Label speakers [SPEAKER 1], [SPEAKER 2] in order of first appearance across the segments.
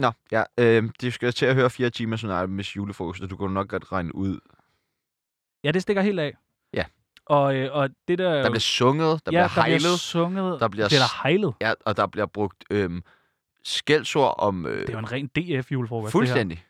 [SPEAKER 1] Nå, ja. Øh, de skal til at høre 4 timer Sonata Miss Julefrokost, og du kunne nok godt regne ud.
[SPEAKER 2] Ja, det stikker helt af.
[SPEAKER 1] Ja.
[SPEAKER 2] Og, øh, og det der...
[SPEAKER 1] Der bliver sunget, der
[SPEAKER 2] ja,
[SPEAKER 1] bliver
[SPEAKER 2] der
[SPEAKER 1] hejlet,
[SPEAKER 2] bliver sunget.
[SPEAKER 1] der bliver
[SPEAKER 2] bliver der hejlet.
[SPEAKER 1] ja, og der bliver brugt øh, skældsord om... Øh,
[SPEAKER 2] Det var en ren DF-julefrokost.
[SPEAKER 1] fuldstændig.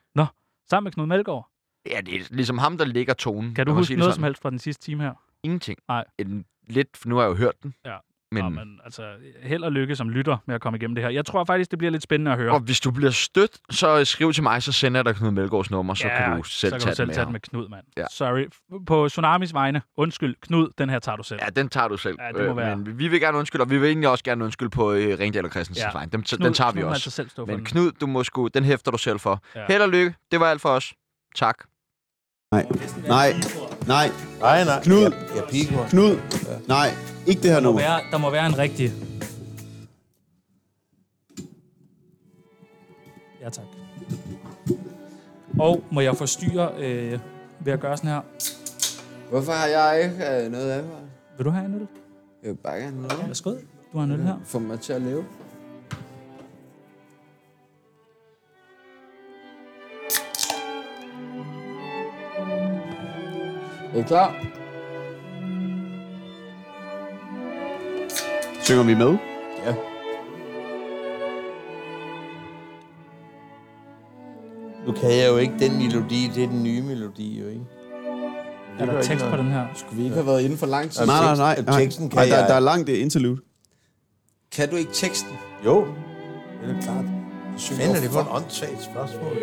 [SPEAKER 2] Sammen med Knud Melgaard.
[SPEAKER 1] Ja, det er ligesom ham, der lægger tonen.
[SPEAKER 2] Kan du
[SPEAKER 1] lad mig
[SPEAKER 2] huske
[SPEAKER 1] sige
[SPEAKER 2] noget
[SPEAKER 1] det
[SPEAKER 2] som helst fra den sidste time her?
[SPEAKER 1] Ingenting.
[SPEAKER 2] Nej.
[SPEAKER 1] En, lidt, for nu har jeg jo hørt den.
[SPEAKER 2] Ja.
[SPEAKER 1] Men,
[SPEAKER 2] Nå, men altså, held og lykke som lytter med at komme igennem det her. Jeg tror faktisk, det bliver lidt spændende at høre.
[SPEAKER 1] Og hvis du bliver stødt, så øh, skriv til mig, så sender jeg dig Knud Melgaards nummer, så kan du selv
[SPEAKER 2] så kan
[SPEAKER 1] tage
[SPEAKER 2] du selv
[SPEAKER 1] den med,
[SPEAKER 2] tage den
[SPEAKER 1] ham.
[SPEAKER 2] med Knud, mand.
[SPEAKER 1] Ja.
[SPEAKER 2] Sorry. F- På Tsunamis vegne. Undskyld, Knud, den her tager du selv.
[SPEAKER 1] Ja, den tager du selv.
[SPEAKER 2] Ja, det må
[SPEAKER 1] Øh,
[SPEAKER 2] være.
[SPEAKER 1] Men vi- vi vil gerne undskylde, og vi vil egentlig også gerne undskylde på øh, Ringdal og Christensens
[SPEAKER 2] Ja.
[SPEAKER 1] ja. vegne. Dem, t-
[SPEAKER 2] Knud,
[SPEAKER 1] den tager vi
[SPEAKER 2] Knud må
[SPEAKER 1] også.
[SPEAKER 2] Altså selv stå for
[SPEAKER 1] Men
[SPEAKER 2] den.
[SPEAKER 1] Knud, du må sgu, den hæfter du selv for.
[SPEAKER 2] Ja.
[SPEAKER 1] Ja. Held og lykke. Det var alt for os. Tak.
[SPEAKER 3] Nej. Nej. Nej.
[SPEAKER 4] Nej, nej.
[SPEAKER 3] Knud.
[SPEAKER 4] Jeg piger.
[SPEAKER 3] Knud. Nej. Ikke det her
[SPEAKER 2] der, må
[SPEAKER 3] nummer.
[SPEAKER 2] være, der må være en rigtig... Ja, tak. Og må jeg forstyrre øh, ved at gøre sådan her?
[SPEAKER 5] Hvorfor har jeg ikke øh, noget ansvar?
[SPEAKER 2] Vil du have en øl?
[SPEAKER 5] Jeg vil bare gerne have noget.
[SPEAKER 2] Værsgo. Du har en øl her.
[SPEAKER 5] Få mig til at leve. Er I klar?
[SPEAKER 3] Synger vi med?
[SPEAKER 5] Ja.
[SPEAKER 4] Nu kan jeg jo ikke den melodi, det er den nye melodi, jo ikke?
[SPEAKER 2] Er der tekst på den her?
[SPEAKER 5] Skulle vi ikke have været inde for lang tid?
[SPEAKER 3] Nej, nej, nej.
[SPEAKER 4] tekst-
[SPEAKER 3] nej.
[SPEAKER 4] Altså, teksten kan
[SPEAKER 3] nej, der,
[SPEAKER 4] jeg-
[SPEAKER 3] der er langt det er interlude.
[SPEAKER 5] Kan du ikke teksten?
[SPEAKER 4] Jo, det er da klart. Fanden er det for en åndssvagt spørgsmål.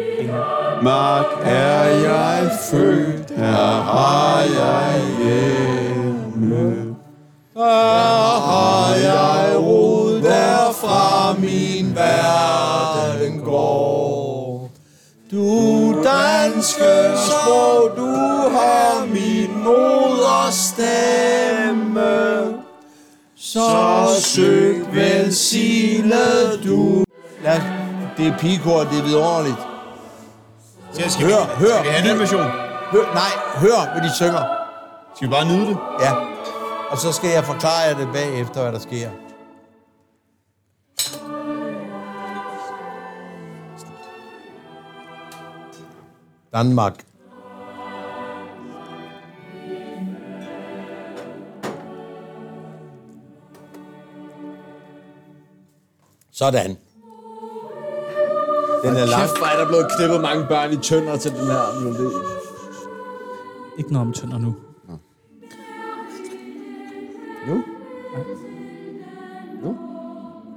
[SPEAKER 3] Mørk er jeg født, her har jeg hjemme. Der har jeg rod, derfra min verden går. Du danske sprog, du har min moderstemme. Så søg velsignet du.
[SPEAKER 4] Lad os, det er pigekor, det er vidunderligt.
[SPEAKER 6] Skal, skal
[SPEAKER 4] Hør,
[SPEAKER 6] vi,
[SPEAKER 4] hør.
[SPEAKER 6] Skal vi have en ny version?
[SPEAKER 4] Hør, nej, hør, hvad de synger.
[SPEAKER 6] Skal vi bare nyde det?
[SPEAKER 4] Ja. Og så skal jeg forklare jer det bagefter, hvad der sker. Danmark. Sådan. Den er lang.
[SPEAKER 5] Kæft, hvor er der blevet knippet mange børn i tønder til den her melodi.
[SPEAKER 2] Ikke noget om tønder nu.
[SPEAKER 4] Nu? Nu?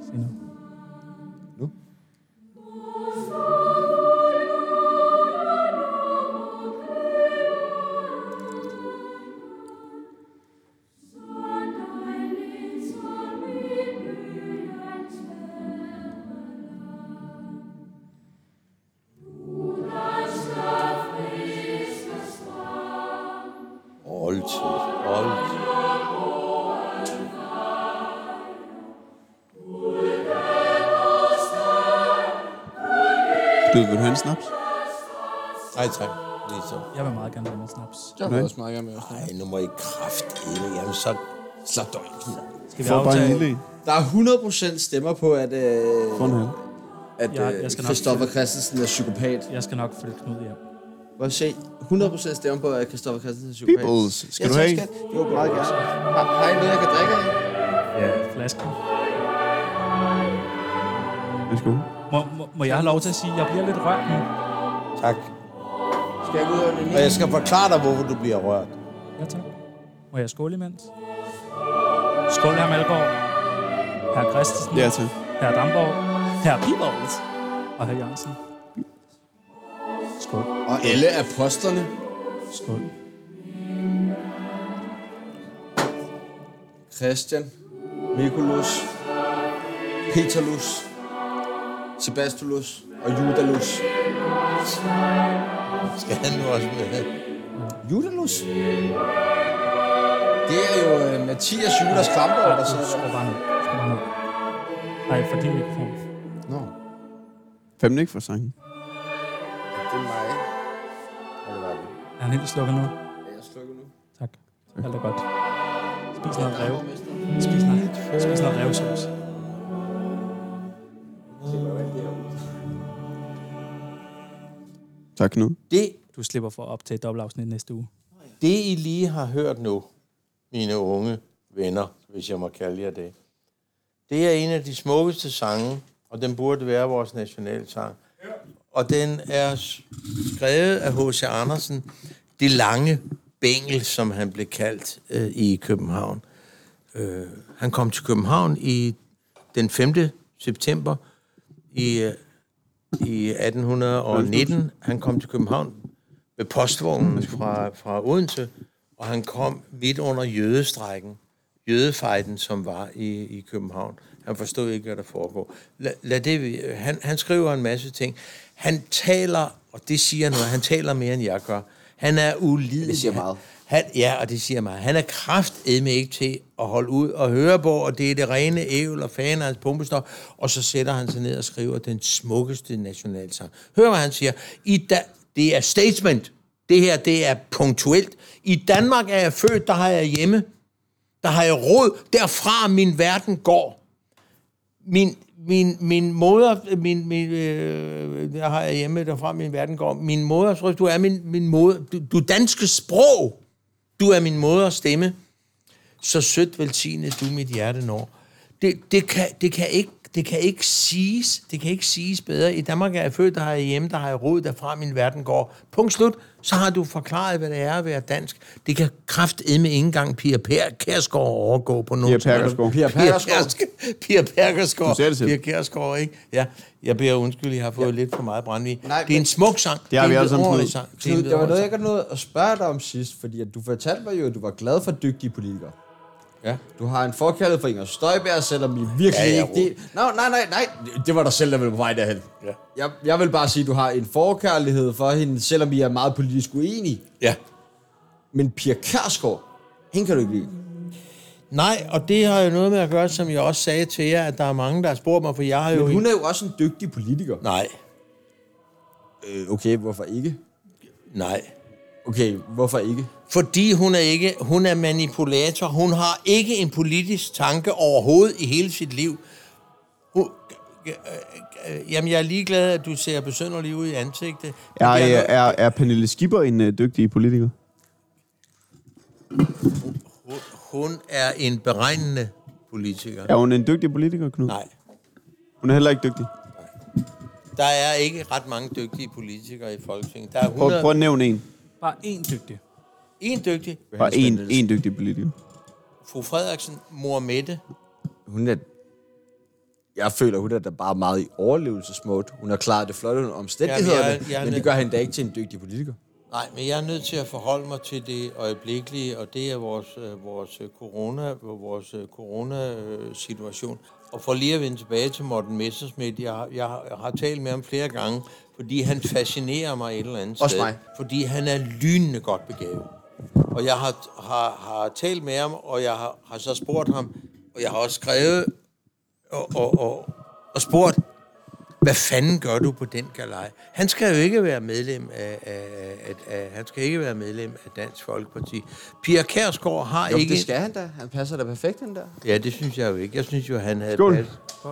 [SPEAKER 2] Sig nu.
[SPEAKER 4] Old. Old.
[SPEAKER 3] Du vil du have en snaps?
[SPEAKER 4] Nej, tak. Lige så.
[SPEAKER 2] Jeg vil meget gerne have en snaps.
[SPEAKER 5] Jeg vil også meget gerne med os.
[SPEAKER 4] Ej, nu må I kraft ikke. Jamen, så slap dig.
[SPEAKER 2] Skal vi
[SPEAKER 3] Får bare en
[SPEAKER 2] aftale?
[SPEAKER 3] lille en.
[SPEAKER 5] Der er 100% stemmer på, at, øh,
[SPEAKER 3] Får en halv.
[SPEAKER 5] at
[SPEAKER 2] Jeg-
[SPEAKER 5] øh,
[SPEAKER 2] jeg skal nok-
[SPEAKER 5] Christoffer Christensen er psykopat.
[SPEAKER 2] Jeg skal nok følge Knud hjem.
[SPEAKER 5] Må jeg se? 100% stemmer på, at Christoffer Christensen er psykopat.
[SPEAKER 3] Peoples, skal
[SPEAKER 5] Ja,
[SPEAKER 3] du
[SPEAKER 5] tak,
[SPEAKER 3] have en?
[SPEAKER 5] skat. Jo, meget gerne. Har, har I noget, jeg kan drikke af?
[SPEAKER 2] Flasken.
[SPEAKER 3] Værsgo.
[SPEAKER 2] Må, må, må jeg have lov til at sige, at jeg bliver lidt rørt nu?
[SPEAKER 4] Tak.
[SPEAKER 5] Skal jeg gå ud og
[SPEAKER 4] Og
[SPEAKER 5] nynne?
[SPEAKER 4] jeg skal forklare dig, hvorfor du bliver rørt.
[SPEAKER 2] Ja, tak. Må jeg skåle imens? Skål, herr Malgaard. Herr Christensen.
[SPEAKER 3] Ja, tak.
[SPEAKER 2] Herr Damborg. Herr Pibold. Og herr Jørgensen. Skål.
[SPEAKER 5] Og alle apostlerne.
[SPEAKER 2] Skål.
[SPEAKER 5] Christian, Mikulus, Peterlus, Sebastulus og Judalus.
[SPEAKER 4] Skal han nu også med?
[SPEAKER 5] Judalus? Det er jo øh, Mathias Judas Klamborg, der sidder
[SPEAKER 2] Skål
[SPEAKER 5] der.
[SPEAKER 2] bare ned. Skål bare ned. Nej, for din mikrofon.
[SPEAKER 5] Nå,
[SPEAKER 3] Fem ikke for sangen.
[SPEAKER 5] det er mig. Ja, det var det.
[SPEAKER 2] Er han helt slukket nu?
[SPEAKER 5] Er jeg slukket nu?
[SPEAKER 2] Tak. Alt er godt. Spis noget rev.
[SPEAKER 5] Borgmester.
[SPEAKER 2] Spis noget, spis noget revsauce.
[SPEAKER 3] Tak, Knud.
[SPEAKER 4] Det,
[SPEAKER 2] Du slipper for at optage dobbeltafsnit næste uge.
[SPEAKER 4] det, I lige har hørt nu, mine unge venner, hvis jeg må kalde jer det, det er en af de smukkeste sange, og den burde være vores nationalsang. Og den er s- skrevet af H.C. Andersen, det lange bængel, som han blev kaldt øh, i København. Øh, han kom til København i den 5. september i, øh, i 1819. Han kom til København med postvognen fra, fra Odense, og han kom midt under jødestrækken, jødefejden, som var i, i København. Han forstod ikke, hvad der foregår. Lad, lad det, vi- han, han skriver en masse ting. Han taler, og det siger noget, han taler mere, end jeg gør. Han er ulidelig.
[SPEAKER 7] Det siger meget.
[SPEAKER 4] Han, ja, og det siger mig. Han er kraftedme ikke til at holde ud og høre på, og det er det rene ævl og fanen af hans pumpestop, og så sætter han sig ned og skriver den smukkeste nationalsang. Hør, hvad han siger. I da, det er statement. Det her, det er punktuelt. I Danmark er jeg født, der har jeg hjemme. Der har jeg råd. Derfra min verden går min, min, min moder, min, min, øh, der har jeg hjemme derfra, min verden går, min moders røst, du er min, min moder, du, du danske sprog, du er min moders stemme, så sødt velsignet du mit hjerte når. Det, det, kan, det, kan ikke, det kan ikke siges, det kan ikke siges bedre. I Danmark er jeg født, der har jeg hjemme, der har jeg rod, derfra min verden går. Punkt slut, så har du forklaret, hvad det er at være dansk. Det kan kraftedme ikke engang Pia Per- Kærsgaard overgå på nogen
[SPEAKER 3] Pia
[SPEAKER 4] som helst
[SPEAKER 3] Perkersgaard.
[SPEAKER 7] Pia
[SPEAKER 4] Pia
[SPEAKER 7] Perkersgaard.
[SPEAKER 4] Perkersgaard. Pia Perkersgaard.
[SPEAKER 3] Du sagde det selv.
[SPEAKER 4] Pia Kærsgaard, ikke? Ja, jeg beder undskyld, jeg har fået ja. lidt for meget brændvin.
[SPEAKER 7] Nej,
[SPEAKER 4] det er
[SPEAKER 7] men-
[SPEAKER 4] en smuk sang.
[SPEAKER 3] Det har vi
[SPEAKER 4] en
[SPEAKER 3] alle sammen
[SPEAKER 4] vidunderlig
[SPEAKER 3] fået.
[SPEAKER 4] sang. Det er en
[SPEAKER 7] Knud, der var noget,
[SPEAKER 4] vidunderlig
[SPEAKER 7] jeg ikke nåede at spørge dig om sidst, fordi at du fortalte mig jo, at du var glad for dygtige politikere.
[SPEAKER 4] Ja.
[SPEAKER 7] Du har en forkærlighed for Inger Støjberg, selvom I virkelig
[SPEAKER 4] Ja,
[SPEAKER 7] ja,
[SPEAKER 4] ja,
[SPEAKER 7] ja, ikke... Det... No, nej, nej, nej, det var dig selv, der ville på vej derhen.
[SPEAKER 4] Ja.
[SPEAKER 7] Jeg, jeg vil bare sige, at du har en forkærlighed for hende, selvom I er meget politisk uenige.
[SPEAKER 4] sang. Ja.
[SPEAKER 7] Men Pia Kærsgaard, hende kan du ikke lide.
[SPEAKER 4] Nej, og det har jo noget med at gøre, som jeg også sagde til jer, at der er mange, der har spurgt mig, for jeg har jo...
[SPEAKER 7] Men hun er jo også en dygtig politiker.
[SPEAKER 4] Nej,
[SPEAKER 7] Øh, okay, hvorfor ikke?
[SPEAKER 4] nej.
[SPEAKER 7] Okay, hvorfor ikke?
[SPEAKER 4] Fordi hun er ikke, hun er manipulator. Hun har ikke en politisk tanke overhovedet i hele sit liv. Hun, øh, øh, øh, jamen, jeg er ligeglad, at du ser besønderlig ud i ansigtet.
[SPEAKER 3] Er,
[SPEAKER 4] Det bliver
[SPEAKER 3] er,
[SPEAKER 4] noget-
[SPEAKER 3] er, er Pernille Skipper en øh, dygtig politiker?
[SPEAKER 4] Hun er en beregnende politiker.
[SPEAKER 3] Er hun en dygtig politiker, Knud?
[SPEAKER 4] Nej,
[SPEAKER 3] Hun er heller ikke dygtig.
[SPEAKER 4] der er ikke ret mange dygtige politikere i Folketinget. Der er
[SPEAKER 3] Prøv,
[SPEAKER 4] 100...
[SPEAKER 3] prøv at nævne en.
[SPEAKER 2] Bare én dygtig.
[SPEAKER 4] En dygtig.
[SPEAKER 3] Bare en, en dygtig politiker.
[SPEAKER 4] Fru Frederiksen, mor Mette.
[SPEAKER 7] Hun er... Jeg føler, hun er da bare meget i overlevelsesmode. Hun har klaret det flot under omstændighederne,
[SPEAKER 4] Jamen, jeg- jeg er
[SPEAKER 7] men
[SPEAKER 4] nød-
[SPEAKER 7] det gør hende da ikke til en dygtig politiker.
[SPEAKER 4] Nej, men jeg er nødt til at forholde mig til det øjeblikkelige, og det er vores, øh, vores øh, corona, vores øh, corona-situation. Og for lige at vende tilbage til Morten Messerschmidt, jeg, har- jeg, har- jeg har talt med ham flere gange, fordi han fascinerer mig et eller andet
[SPEAKER 7] Også
[SPEAKER 4] sted.
[SPEAKER 7] mig.
[SPEAKER 4] Fordi han er lynende godt begavet. Og jeg har, har, har talt med ham, og jeg har, har så spurgt ham, og jeg har også skrevet og, og, og, og spurgt, hvad fanden gør du på den galej? Han skal jo ikke være medlem af, af, af, af han skal ikke være medlem af Dansk Folkeparti. Pia Kærsgaard har
[SPEAKER 7] Jo,
[SPEAKER 4] ikke...
[SPEAKER 7] det skal han da. Han passer da perfekt, den der.
[SPEAKER 4] Ja, det synes jeg jo ikke. Jeg synes jo, han havde
[SPEAKER 3] Skål.
[SPEAKER 4] pas,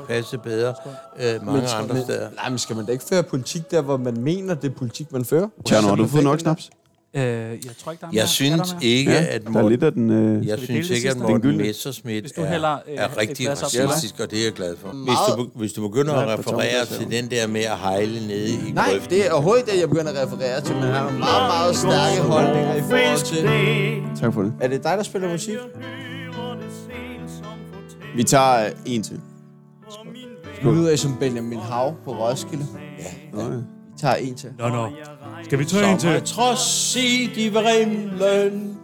[SPEAKER 4] passet bedre øh, mange andre steder.
[SPEAKER 7] Nej, men skal man da ikke føre politik der, hvor man mener, det er politik, man fører?
[SPEAKER 3] Tjerno, har du fået nok snaps?
[SPEAKER 2] Øh, jeg tror ikke, der er mere.
[SPEAKER 4] Jeg synes
[SPEAKER 2] er der mere?
[SPEAKER 4] ikke,
[SPEAKER 3] Ja,
[SPEAKER 4] at
[SPEAKER 3] der er
[SPEAKER 4] Morten,
[SPEAKER 3] lidt af den... Øh,
[SPEAKER 4] jeg
[SPEAKER 2] dele
[SPEAKER 4] synes
[SPEAKER 2] det
[SPEAKER 4] ikke, at
[SPEAKER 2] sidste? Den
[SPEAKER 4] Morten
[SPEAKER 3] gyldne.
[SPEAKER 4] Messerschmidt
[SPEAKER 2] Hvis du hælder,
[SPEAKER 4] er,
[SPEAKER 2] øh,
[SPEAKER 4] er
[SPEAKER 2] et
[SPEAKER 4] rigtig
[SPEAKER 2] glas op til mig.
[SPEAKER 4] racistisk, og det er jeg glad for. Hvis
[SPEAKER 7] Meget-
[SPEAKER 4] du, be- hvis du begynder at referere til den der med at hejle nede i
[SPEAKER 7] Nej,
[SPEAKER 4] grøften,
[SPEAKER 7] det er overhovedet ikke det, jeg begynder at referere til, men han har meget, meget stærke holdninger i forhold til...
[SPEAKER 3] tak for det.
[SPEAKER 7] Er det dig, der spiller musik?
[SPEAKER 3] Vi tager øh, en til.
[SPEAKER 7] Nu lyder jeg som Benjamin Hav på Roskilde.
[SPEAKER 3] Nå, ja.
[SPEAKER 7] Vi tager en til.
[SPEAKER 2] Nå, nå. Skal vi tage en
[SPEAKER 4] Som er
[SPEAKER 2] til?
[SPEAKER 4] trods i de vrimlen,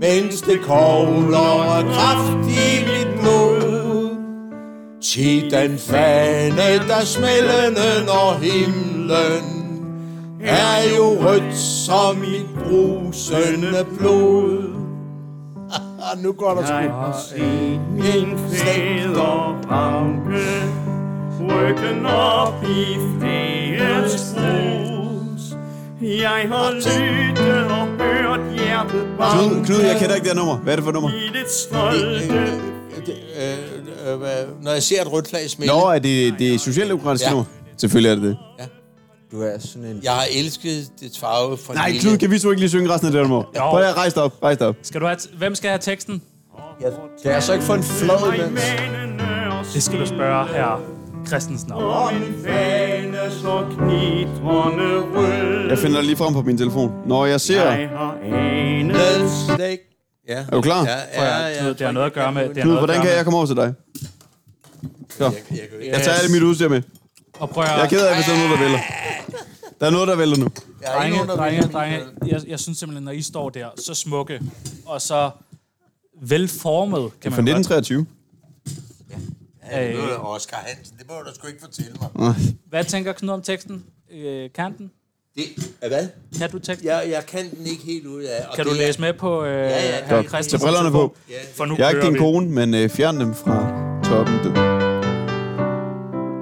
[SPEAKER 4] mens det kogler og kraft i mit blod. Sig den fane, der smældende når himlen er jo rødt som i brusende blod. Ah, nu går der sgu. Min fædre
[SPEAKER 8] banke Ryggen op i frihedens brus Jeg har lyttet og hørt hjertet
[SPEAKER 3] Knud,
[SPEAKER 8] banke
[SPEAKER 3] Knud, jeg kender ikke det her nummer. Hvad er det for et nummer?
[SPEAKER 8] I det
[SPEAKER 4] Øh,
[SPEAKER 8] stolte
[SPEAKER 4] Når jeg ser et rødt flag smælde,
[SPEAKER 3] Nå, er det det socialdemokratiske
[SPEAKER 4] Ja.
[SPEAKER 3] nummer? Selvfølgelig er det det.
[SPEAKER 4] Ja.
[SPEAKER 7] Du er sådan en...
[SPEAKER 4] Jeg har elsket det farve fra
[SPEAKER 3] Nej,
[SPEAKER 4] lille.
[SPEAKER 3] Knud, kan vi så ikke lige synge resten af det her nummer? Prøv at rejse dig op, rejse dig op.
[SPEAKER 2] Skal du have t- Hvem skal have teksten?
[SPEAKER 7] Jeg, kan jeg så ikke få en flad imens?
[SPEAKER 2] Det skal du spørge her. Christensen om.
[SPEAKER 8] Og min fane slår knitrende rød.
[SPEAKER 3] Jeg finder det lige frem på min telefon. Når jeg ser...
[SPEAKER 8] Jeg har anet
[SPEAKER 4] Snake. Ja.
[SPEAKER 3] Er du klar?
[SPEAKER 4] Ja, ja,
[SPEAKER 2] Ja,
[SPEAKER 4] ja.
[SPEAKER 2] Knud, det har noget at gøre med. Det har
[SPEAKER 3] Knud,
[SPEAKER 2] noget at
[SPEAKER 3] hvordan
[SPEAKER 2] gøre
[SPEAKER 3] kan
[SPEAKER 2] med-
[SPEAKER 3] jeg komme over til dig? Så.
[SPEAKER 4] Jeg kan jo ikke-
[SPEAKER 3] Jeg tager alt mit udstyr med.
[SPEAKER 2] Og prøv at
[SPEAKER 3] Jeg er ked af, hvis der er noget, der vælter. Der er noget, der vælter nu.
[SPEAKER 4] Jeg har
[SPEAKER 2] Drenge,
[SPEAKER 4] ikke nogen, der
[SPEAKER 2] drenge,
[SPEAKER 4] vil-
[SPEAKER 2] drenge, jeg, jeg synes simpelthen, når I står der, så smukke og så velformet, kan
[SPEAKER 3] Fra
[SPEAKER 2] man godt.
[SPEAKER 3] 1923.
[SPEAKER 4] Ja, det var Oscar Hansen, det må du sgu ikke fortælle mig.
[SPEAKER 2] Hvad tænker Knud om teksten? Øh, kan den?
[SPEAKER 4] Det, er hvad?
[SPEAKER 2] Kan du teksten?
[SPEAKER 4] Jeg, jeg kan den ikke helt ud af. og
[SPEAKER 2] Kan du
[SPEAKER 4] det er-
[SPEAKER 2] læse med på øh, ja,
[SPEAKER 4] ja,
[SPEAKER 2] ja,
[SPEAKER 4] det er-
[SPEAKER 2] Herre Christensen?
[SPEAKER 3] Tag brillerne på.
[SPEAKER 2] For nu
[SPEAKER 3] Jeg er ikke
[SPEAKER 2] kører
[SPEAKER 3] din
[SPEAKER 2] vi.
[SPEAKER 3] kone, men øh, fjern dem fra toppen. Du.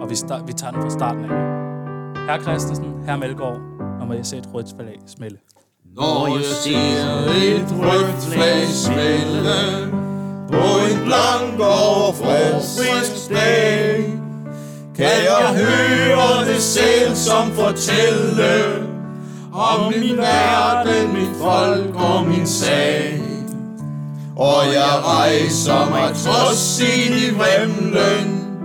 [SPEAKER 2] Og vi, start, vi tager den fra starten af. Herre Christensen, Herre Melgaard, når man ser et rødt flag smelle.
[SPEAKER 4] Når jeg ser et rødt flag smælde på en blank og frisk dag, kan jeg høre det selv som fortælle om min verden, mit folk og min sag. Og jeg rejser mig trods ind i vrimlen,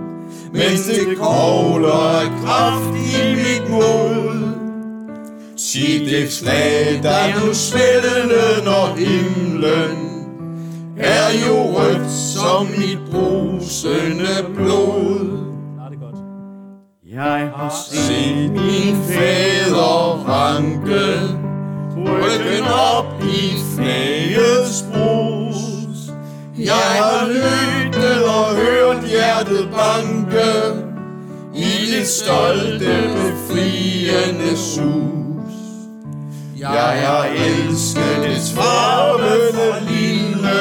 [SPEAKER 4] mens det kogler af kraft i mit mod. Sig det flag, der nu svældende når himlen er jo rødt som mit brusende blod.
[SPEAKER 2] Nej, det er godt.
[SPEAKER 8] Jeg har set
[SPEAKER 4] Se min fædre ranke, ryggen op i flagets brus. Jeg har lyttet og hørt hjertet banke i det stolte befriende sus. Jeg har elsket dets farve for lille,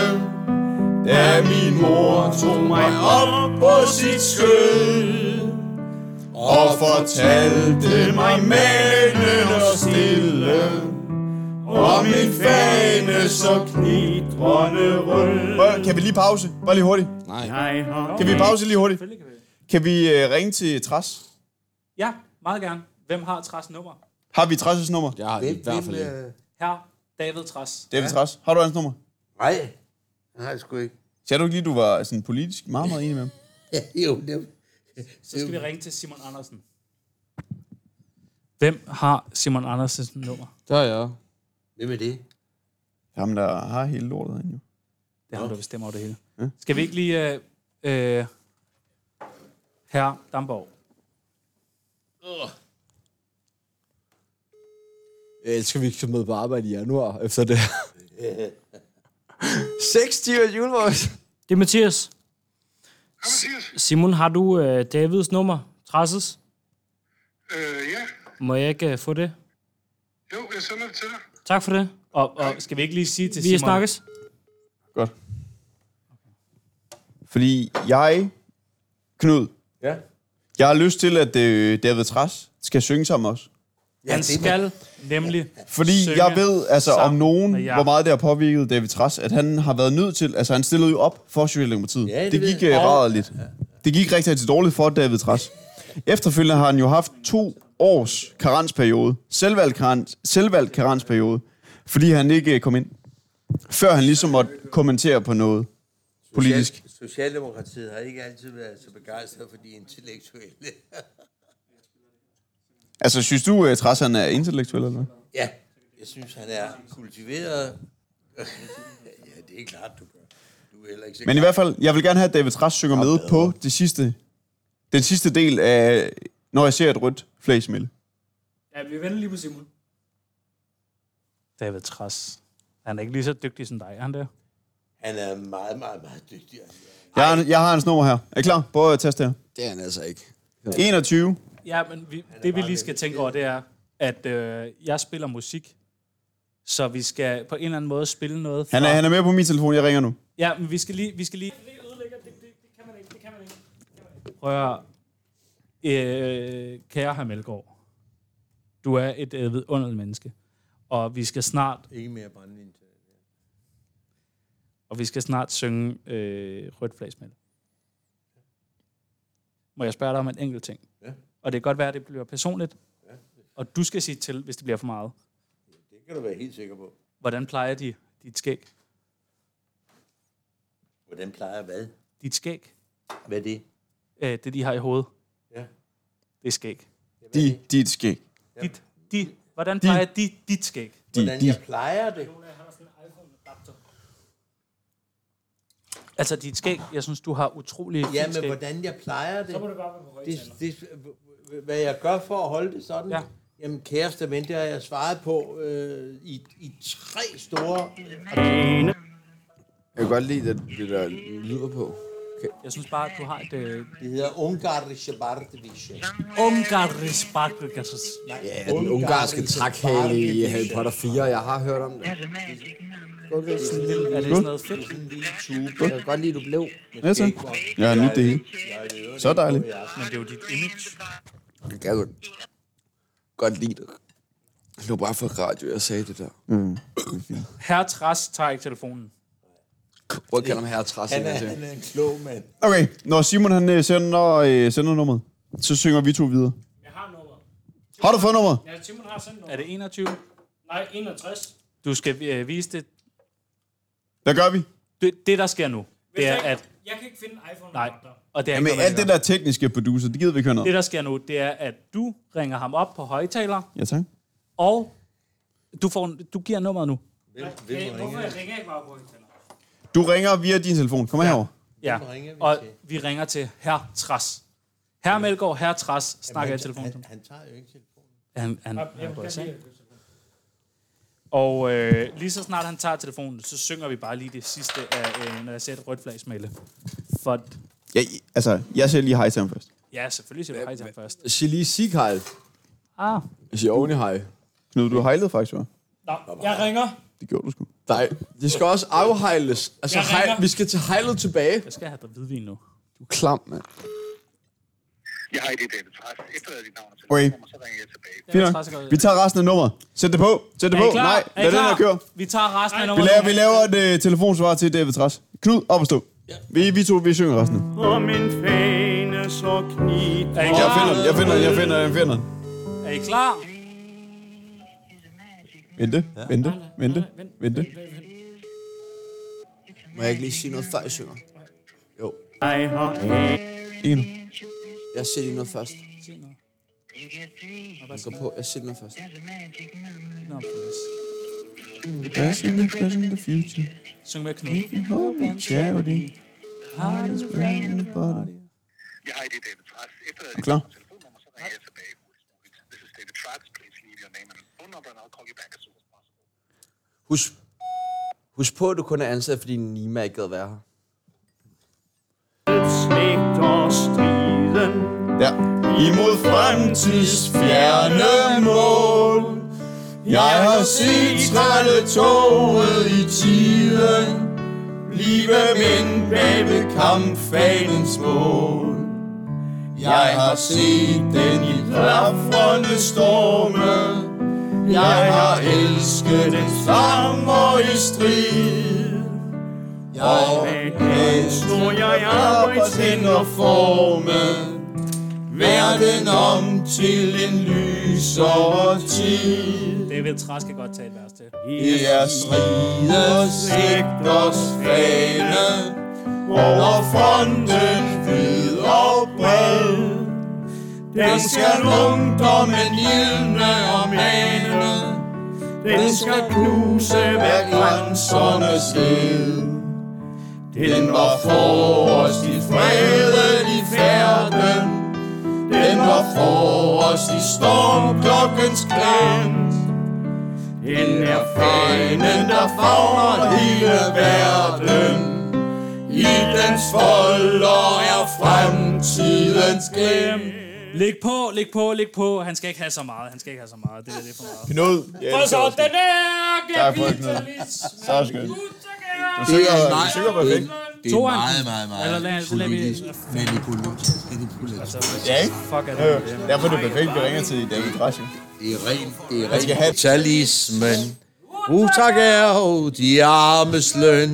[SPEAKER 4] da min mor tog mig op på sit skød og fortalte mig manen og stille om min fane så
[SPEAKER 8] knitrende rød.
[SPEAKER 3] Kan vi lige pause? Bare lige hurtigt.
[SPEAKER 8] Jeg har
[SPEAKER 3] Kan vi pause lige hurtigt?
[SPEAKER 2] Selvfølgelig kan vi.
[SPEAKER 3] Kan vi øh, ringe til Træs?
[SPEAKER 2] Ja, meget gerne. Hvem har Træs nummer?
[SPEAKER 3] Har vi Træs' nummer?
[SPEAKER 7] Jeg har i hvert fald ikke.
[SPEAKER 2] Her, David Træs.
[SPEAKER 3] David Træs. Har du hans nummer?
[SPEAKER 4] Nej,
[SPEAKER 5] Den har jeg sgu ikke.
[SPEAKER 3] Sagde du ikke lige, du var sådan politisk meget, meget enig med ham?
[SPEAKER 4] jo, det
[SPEAKER 2] Så skal vi ringe til Simon Andersen. Hvem har Simon Andersens nummer?
[SPEAKER 7] Der er jeg.
[SPEAKER 4] Hvem er det?
[SPEAKER 3] Ham, der har hele lortet herinde, jo.
[SPEAKER 2] Det er ham, der bestemmer over det hele. Skal vi ikke lige... Øh, øh, her, Damborg.
[SPEAKER 7] Jeg elsker, at vi ikke skal med på arbejde i januar efter det her. Seks timers julefrokost.
[SPEAKER 9] Det er Mathias. Simon, har du øh, Davids nummer? Trasses?
[SPEAKER 10] Øh, ja.
[SPEAKER 9] Må jeg ikke øh, få det?
[SPEAKER 10] Jo, jeg sender det til dig.
[SPEAKER 9] Tak for det.
[SPEAKER 2] Og, og skal vi ikke lige sige til
[SPEAKER 9] Vi
[SPEAKER 2] Simon...
[SPEAKER 9] snakkes.
[SPEAKER 3] Godt. Fordi jeg, Knud,
[SPEAKER 7] Ja.
[SPEAKER 3] jeg har lyst til, at øh, David Træs skal synge sammen med os.
[SPEAKER 2] Han skal nemlig
[SPEAKER 3] Fordi
[SPEAKER 2] synge.
[SPEAKER 3] Synge jeg ved altså om
[SPEAKER 2] sammen
[SPEAKER 3] nogen,
[SPEAKER 2] med jer.
[SPEAKER 3] hvor meget det har påvirket David Træs, at han har været nødt til, altså han stillede jo op for Socialdemokratiet.
[SPEAKER 4] Ja, det
[SPEAKER 3] det,
[SPEAKER 4] ved
[SPEAKER 3] gik uh, ræderligt. Det gik rigtig, rigtig dårligt for David Træs. Efterfølgende har han jo haft to års karensperiode, selvvalgt, karens, selvvalgt karensperiode, fordi han ikke øh, kom ind, før han ligesom måtte kommentere på noget politisk.
[SPEAKER 4] Social- Socialdemokratiet har ikke altid været så begejstret for de intellektuelle.
[SPEAKER 3] Altså, synes du, at Træs han er intellektuel, eller hvad?
[SPEAKER 4] ja, jeg synes, han er kultiveret. ja, det er klart, du gør. Du er heller ikke så
[SPEAKER 3] Men i hvert fald, jeg vil gerne have, at David Træs synger med på det sidste, den sidste del af, når jeg ser et rødt flæsmille.
[SPEAKER 2] Ja, vi vender lige på Simon. David Træs. Han er ikke lige så dygtig som dig, er han det?
[SPEAKER 4] Han er meget, meget, meget dygtig.
[SPEAKER 3] Jeg har, jeg har hans nummer her. Er I klar? Prøv at teste her.
[SPEAKER 7] Det er han altså ikke.
[SPEAKER 3] 21.
[SPEAKER 2] Ja, men vi, det vi lige skal tænke over, det er, at øh, jeg spiller musik, så vi skal på en eller anden måde spille noget. Fra,
[SPEAKER 3] Han er, han er med på min telefon. Jeg ringer nu.
[SPEAKER 2] Ja, men vi skal lige... Vi skal lige... Prøv at... Øh, kære herr Melgaard, du er et øh, vidunderligt menneske, og vi skal snart
[SPEAKER 4] Ikke mere brændvin til.
[SPEAKER 2] Og vi skal snart synge øh, Rødt Flagsmænd. Må jeg spørge dig om en enkelt ting? Ja. Og det kan godt være, at det bliver personligt. Ja. og du skal sige til, hvis det bliver for meget.
[SPEAKER 4] Det kan du være helt sikker på.
[SPEAKER 2] Hvordan plejer de dit skæg?
[SPEAKER 4] Hvordan plejer hvad?
[SPEAKER 2] Dit skæg?
[SPEAKER 4] Hvad er det?
[SPEAKER 2] Øh, det, de har i hovedet.
[SPEAKER 4] Ja.
[SPEAKER 2] Det er skæg.
[SPEAKER 3] De, dit skæg.
[SPEAKER 2] Dit, de, hvordan plejer de dit skæg?
[SPEAKER 3] De,
[SPEAKER 4] Hvordan
[SPEAKER 3] de.
[SPEAKER 4] jeg plejer det?
[SPEAKER 2] Altså dit skæg, jeg synes, du har utrolig
[SPEAKER 4] Ja,
[SPEAKER 2] fint
[SPEAKER 4] men
[SPEAKER 2] skæg.
[SPEAKER 4] hvordan jeg plejer det? Så må du bare det, det, Hvad jeg gør for at holde det sådan?
[SPEAKER 2] Ja.
[SPEAKER 4] Jamen, kæreste ven, det har jeg svaret på øh, i, i tre store...
[SPEAKER 7] Jeg kan godt lide det, det der lyder på.
[SPEAKER 2] Jeg synes bare, at du har et... Øh,
[SPEAKER 4] Det hedder ungarische Bartwische.
[SPEAKER 2] Ungarsk bakkelkassus.
[SPEAKER 7] Ja, den ungarske trækhale i Harry Potter 4, jeg har hørt om det. Godt ved sådan en lille-
[SPEAKER 2] Er det sådan noget fedt?
[SPEAKER 7] Jeg kan godt lide, du blev.
[SPEAKER 3] Ja, tak. Jeg har nyt det hele. Så dejligt.
[SPEAKER 2] Men det er jo dit image.
[SPEAKER 7] Jeg kan godt, godt lide det. Det var bare for radio, jeg sagde det der.
[SPEAKER 2] Herre Træs tager ikke telefonen.
[SPEAKER 7] Prøv at kalde ham herre Træs.
[SPEAKER 4] Han er, han er en klog mand.
[SPEAKER 3] Okay, når Simon han øh, sender, øh, sender nummeret, så synger vi to videre.
[SPEAKER 9] Jeg har nummeret.
[SPEAKER 3] Har du fået nummeret?
[SPEAKER 9] Ja, Simon har sendt
[SPEAKER 2] Er
[SPEAKER 9] nummeret.
[SPEAKER 2] det 21?
[SPEAKER 9] Nej, 61.
[SPEAKER 2] Du skal øh, vise det.
[SPEAKER 3] Hvad gør vi?
[SPEAKER 2] det. Det, der sker nu, det er,
[SPEAKER 9] jeg,
[SPEAKER 2] at...
[SPEAKER 9] jeg kan ikke finde en iPhone.
[SPEAKER 2] Nej,
[SPEAKER 9] adapter.
[SPEAKER 2] og det er
[SPEAKER 3] Jamen,
[SPEAKER 2] ikke noget,
[SPEAKER 3] alt
[SPEAKER 2] man
[SPEAKER 3] det
[SPEAKER 2] gør.
[SPEAKER 3] der tekniske producer, det gider vi ikke høre noget.
[SPEAKER 2] det,
[SPEAKER 3] om.
[SPEAKER 2] der sker nu, det er, at du ringer ham op på højtaler,
[SPEAKER 3] Ja, tak.
[SPEAKER 2] og du, får, en- du giver nummeret nu.
[SPEAKER 9] Hey, hvorfor jeg ringer ikke bare på højtaler?
[SPEAKER 3] Du ringer via din telefon. Kom herover.
[SPEAKER 2] Ja,
[SPEAKER 4] ringer vi
[SPEAKER 2] og
[SPEAKER 4] til?
[SPEAKER 2] vi ringer til herr Træs. Herre Melgaard, herre Træs, snakker jeg i telefonen.
[SPEAKER 4] Han, han tager jo ikke telefonen.
[SPEAKER 2] Han, han, han går i seng. Og øh, lige så snart han tager telefonen, så synger vi bare lige det sidste af, øh, når jeg ser et rødt flag smelle. For,
[SPEAKER 3] Ja, i- altså, jeg siger lige hej til ham først.
[SPEAKER 2] ja, selvfølgelig siger du hej til ham først.
[SPEAKER 7] Sig lige sig hej.
[SPEAKER 2] Ah.
[SPEAKER 7] Jeg siger only hej.
[SPEAKER 3] Knud, du hejlede faktisk, hva'?
[SPEAKER 9] Nå, jeg ringer.
[SPEAKER 3] Det gjorde du sgu.
[SPEAKER 7] Nej, det skal også afhejles. Altså,
[SPEAKER 9] Jeg ringer.
[SPEAKER 7] hej, vi skal til hejlet tilbage.
[SPEAKER 2] Jeg skal have dig hvidvin nu.
[SPEAKER 7] Du er klam, mand.
[SPEAKER 10] Jeg har ikke det, David Træs. Efterlad dit navn og
[SPEAKER 3] Okay.
[SPEAKER 10] telefonnummer, så ringer jeg tilbage.
[SPEAKER 3] Fint nok.
[SPEAKER 2] Træs er godt.
[SPEAKER 3] Vi tager resten af nummeret. Sæt det på. Sæt det
[SPEAKER 2] Er
[SPEAKER 3] på.
[SPEAKER 2] I klar?
[SPEAKER 3] Nej,
[SPEAKER 2] er I
[SPEAKER 3] lad den
[SPEAKER 2] klar?
[SPEAKER 3] her køre.
[SPEAKER 2] Vi tager resten af
[SPEAKER 3] Vi
[SPEAKER 2] nummeret.
[SPEAKER 3] laver, vi laver et øh, telefonsvar til David Træs. Knud, op og stå. Vi, vi to, vi synger resten.
[SPEAKER 8] Om en fane så knit
[SPEAKER 2] Er I
[SPEAKER 3] Jeg
[SPEAKER 2] klar?
[SPEAKER 3] finder den, jeg finder den, jeg finder den, jeg finder den.
[SPEAKER 2] Er I klar?
[SPEAKER 3] Vente, vente, vente, vente.
[SPEAKER 7] Må jeg ikke lige sige noget, før jeg synger? Jo,
[SPEAKER 8] Jeg har
[SPEAKER 3] Ikke nu.
[SPEAKER 7] jeg siger lige noget først. Jeg går på, jeg siger noget først.
[SPEAKER 2] Nå, please.
[SPEAKER 3] That's in the present and the future.
[SPEAKER 2] Syng med Knud.
[SPEAKER 3] You hold me charity. Heart is burning in the body.
[SPEAKER 10] Jeg har ikke det, David Træs. Efterlad dit
[SPEAKER 3] Klar.
[SPEAKER 10] navn og telefonnummer, så ringer jeg tilbage. This is David Træs. Please leave your name and phone number, and I'll call you back as soon as possible.
[SPEAKER 7] Husk, husk på, at du kun er ansat, fordi Nima ikke gad være her.
[SPEAKER 8] alt slægt og striden.
[SPEAKER 3] Ja. Imod fremtidsfjerne mål. Jeg har set trælle toget i tiden. Blive min bag ved kampfanens mål. Jeg har set den i blafrende storme. Jeg har elsket den sommer i strid. Og
[SPEAKER 8] Med stod jeg arbejdshænder
[SPEAKER 3] og forme verden om til en lysere tid.
[SPEAKER 2] David Træs kan godt tage et vers til.
[SPEAKER 3] Det er strides ægters fane over fronten hvid og bred. Den skal ungdommen ilne og mane, den skal knuse hver grænserne sted. Den var forrest i fredelig færden, den var forrest i stormklokkens glans. Den er fanen, der favner hele verden. I dens folder er fremtidens gem.
[SPEAKER 2] Øhm, Læg på, læg på, læg på. Han skal ikke have så meget. Han skal ikke have så meget. Det, der, det er for meget.
[SPEAKER 3] Knud. Ja,
[SPEAKER 9] Og så den er
[SPEAKER 3] Tak for det, Knud.
[SPEAKER 9] kapitalismen.
[SPEAKER 3] Så er det skønt.
[SPEAKER 9] Utakket.
[SPEAKER 4] Det er,
[SPEAKER 3] Du synger perfekt.
[SPEAKER 4] det er
[SPEAKER 2] Toeren.
[SPEAKER 4] meget, meget, meget
[SPEAKER 2] Eller lad- lad vi-
[SPEAKER 4] politisk manipulativt. manipulativt.
[SPEAKER 3] Ja, ikke?
[SPEAKER 2] Fuck, er
[SPEAKER 3] Jo,
[SPEAKER 2] det
[SPEAKER 3] jo. Derfor er det perfekt, vi ringer til David Rasche.
[SPEAKER 4] Det er ren, det er
[SPEAKER 3] skal
[SPEAKER 4] ren
[SPEAKER 3] have-
[SPEAKER 4] kapitalismen. Utak er jo de armes løn.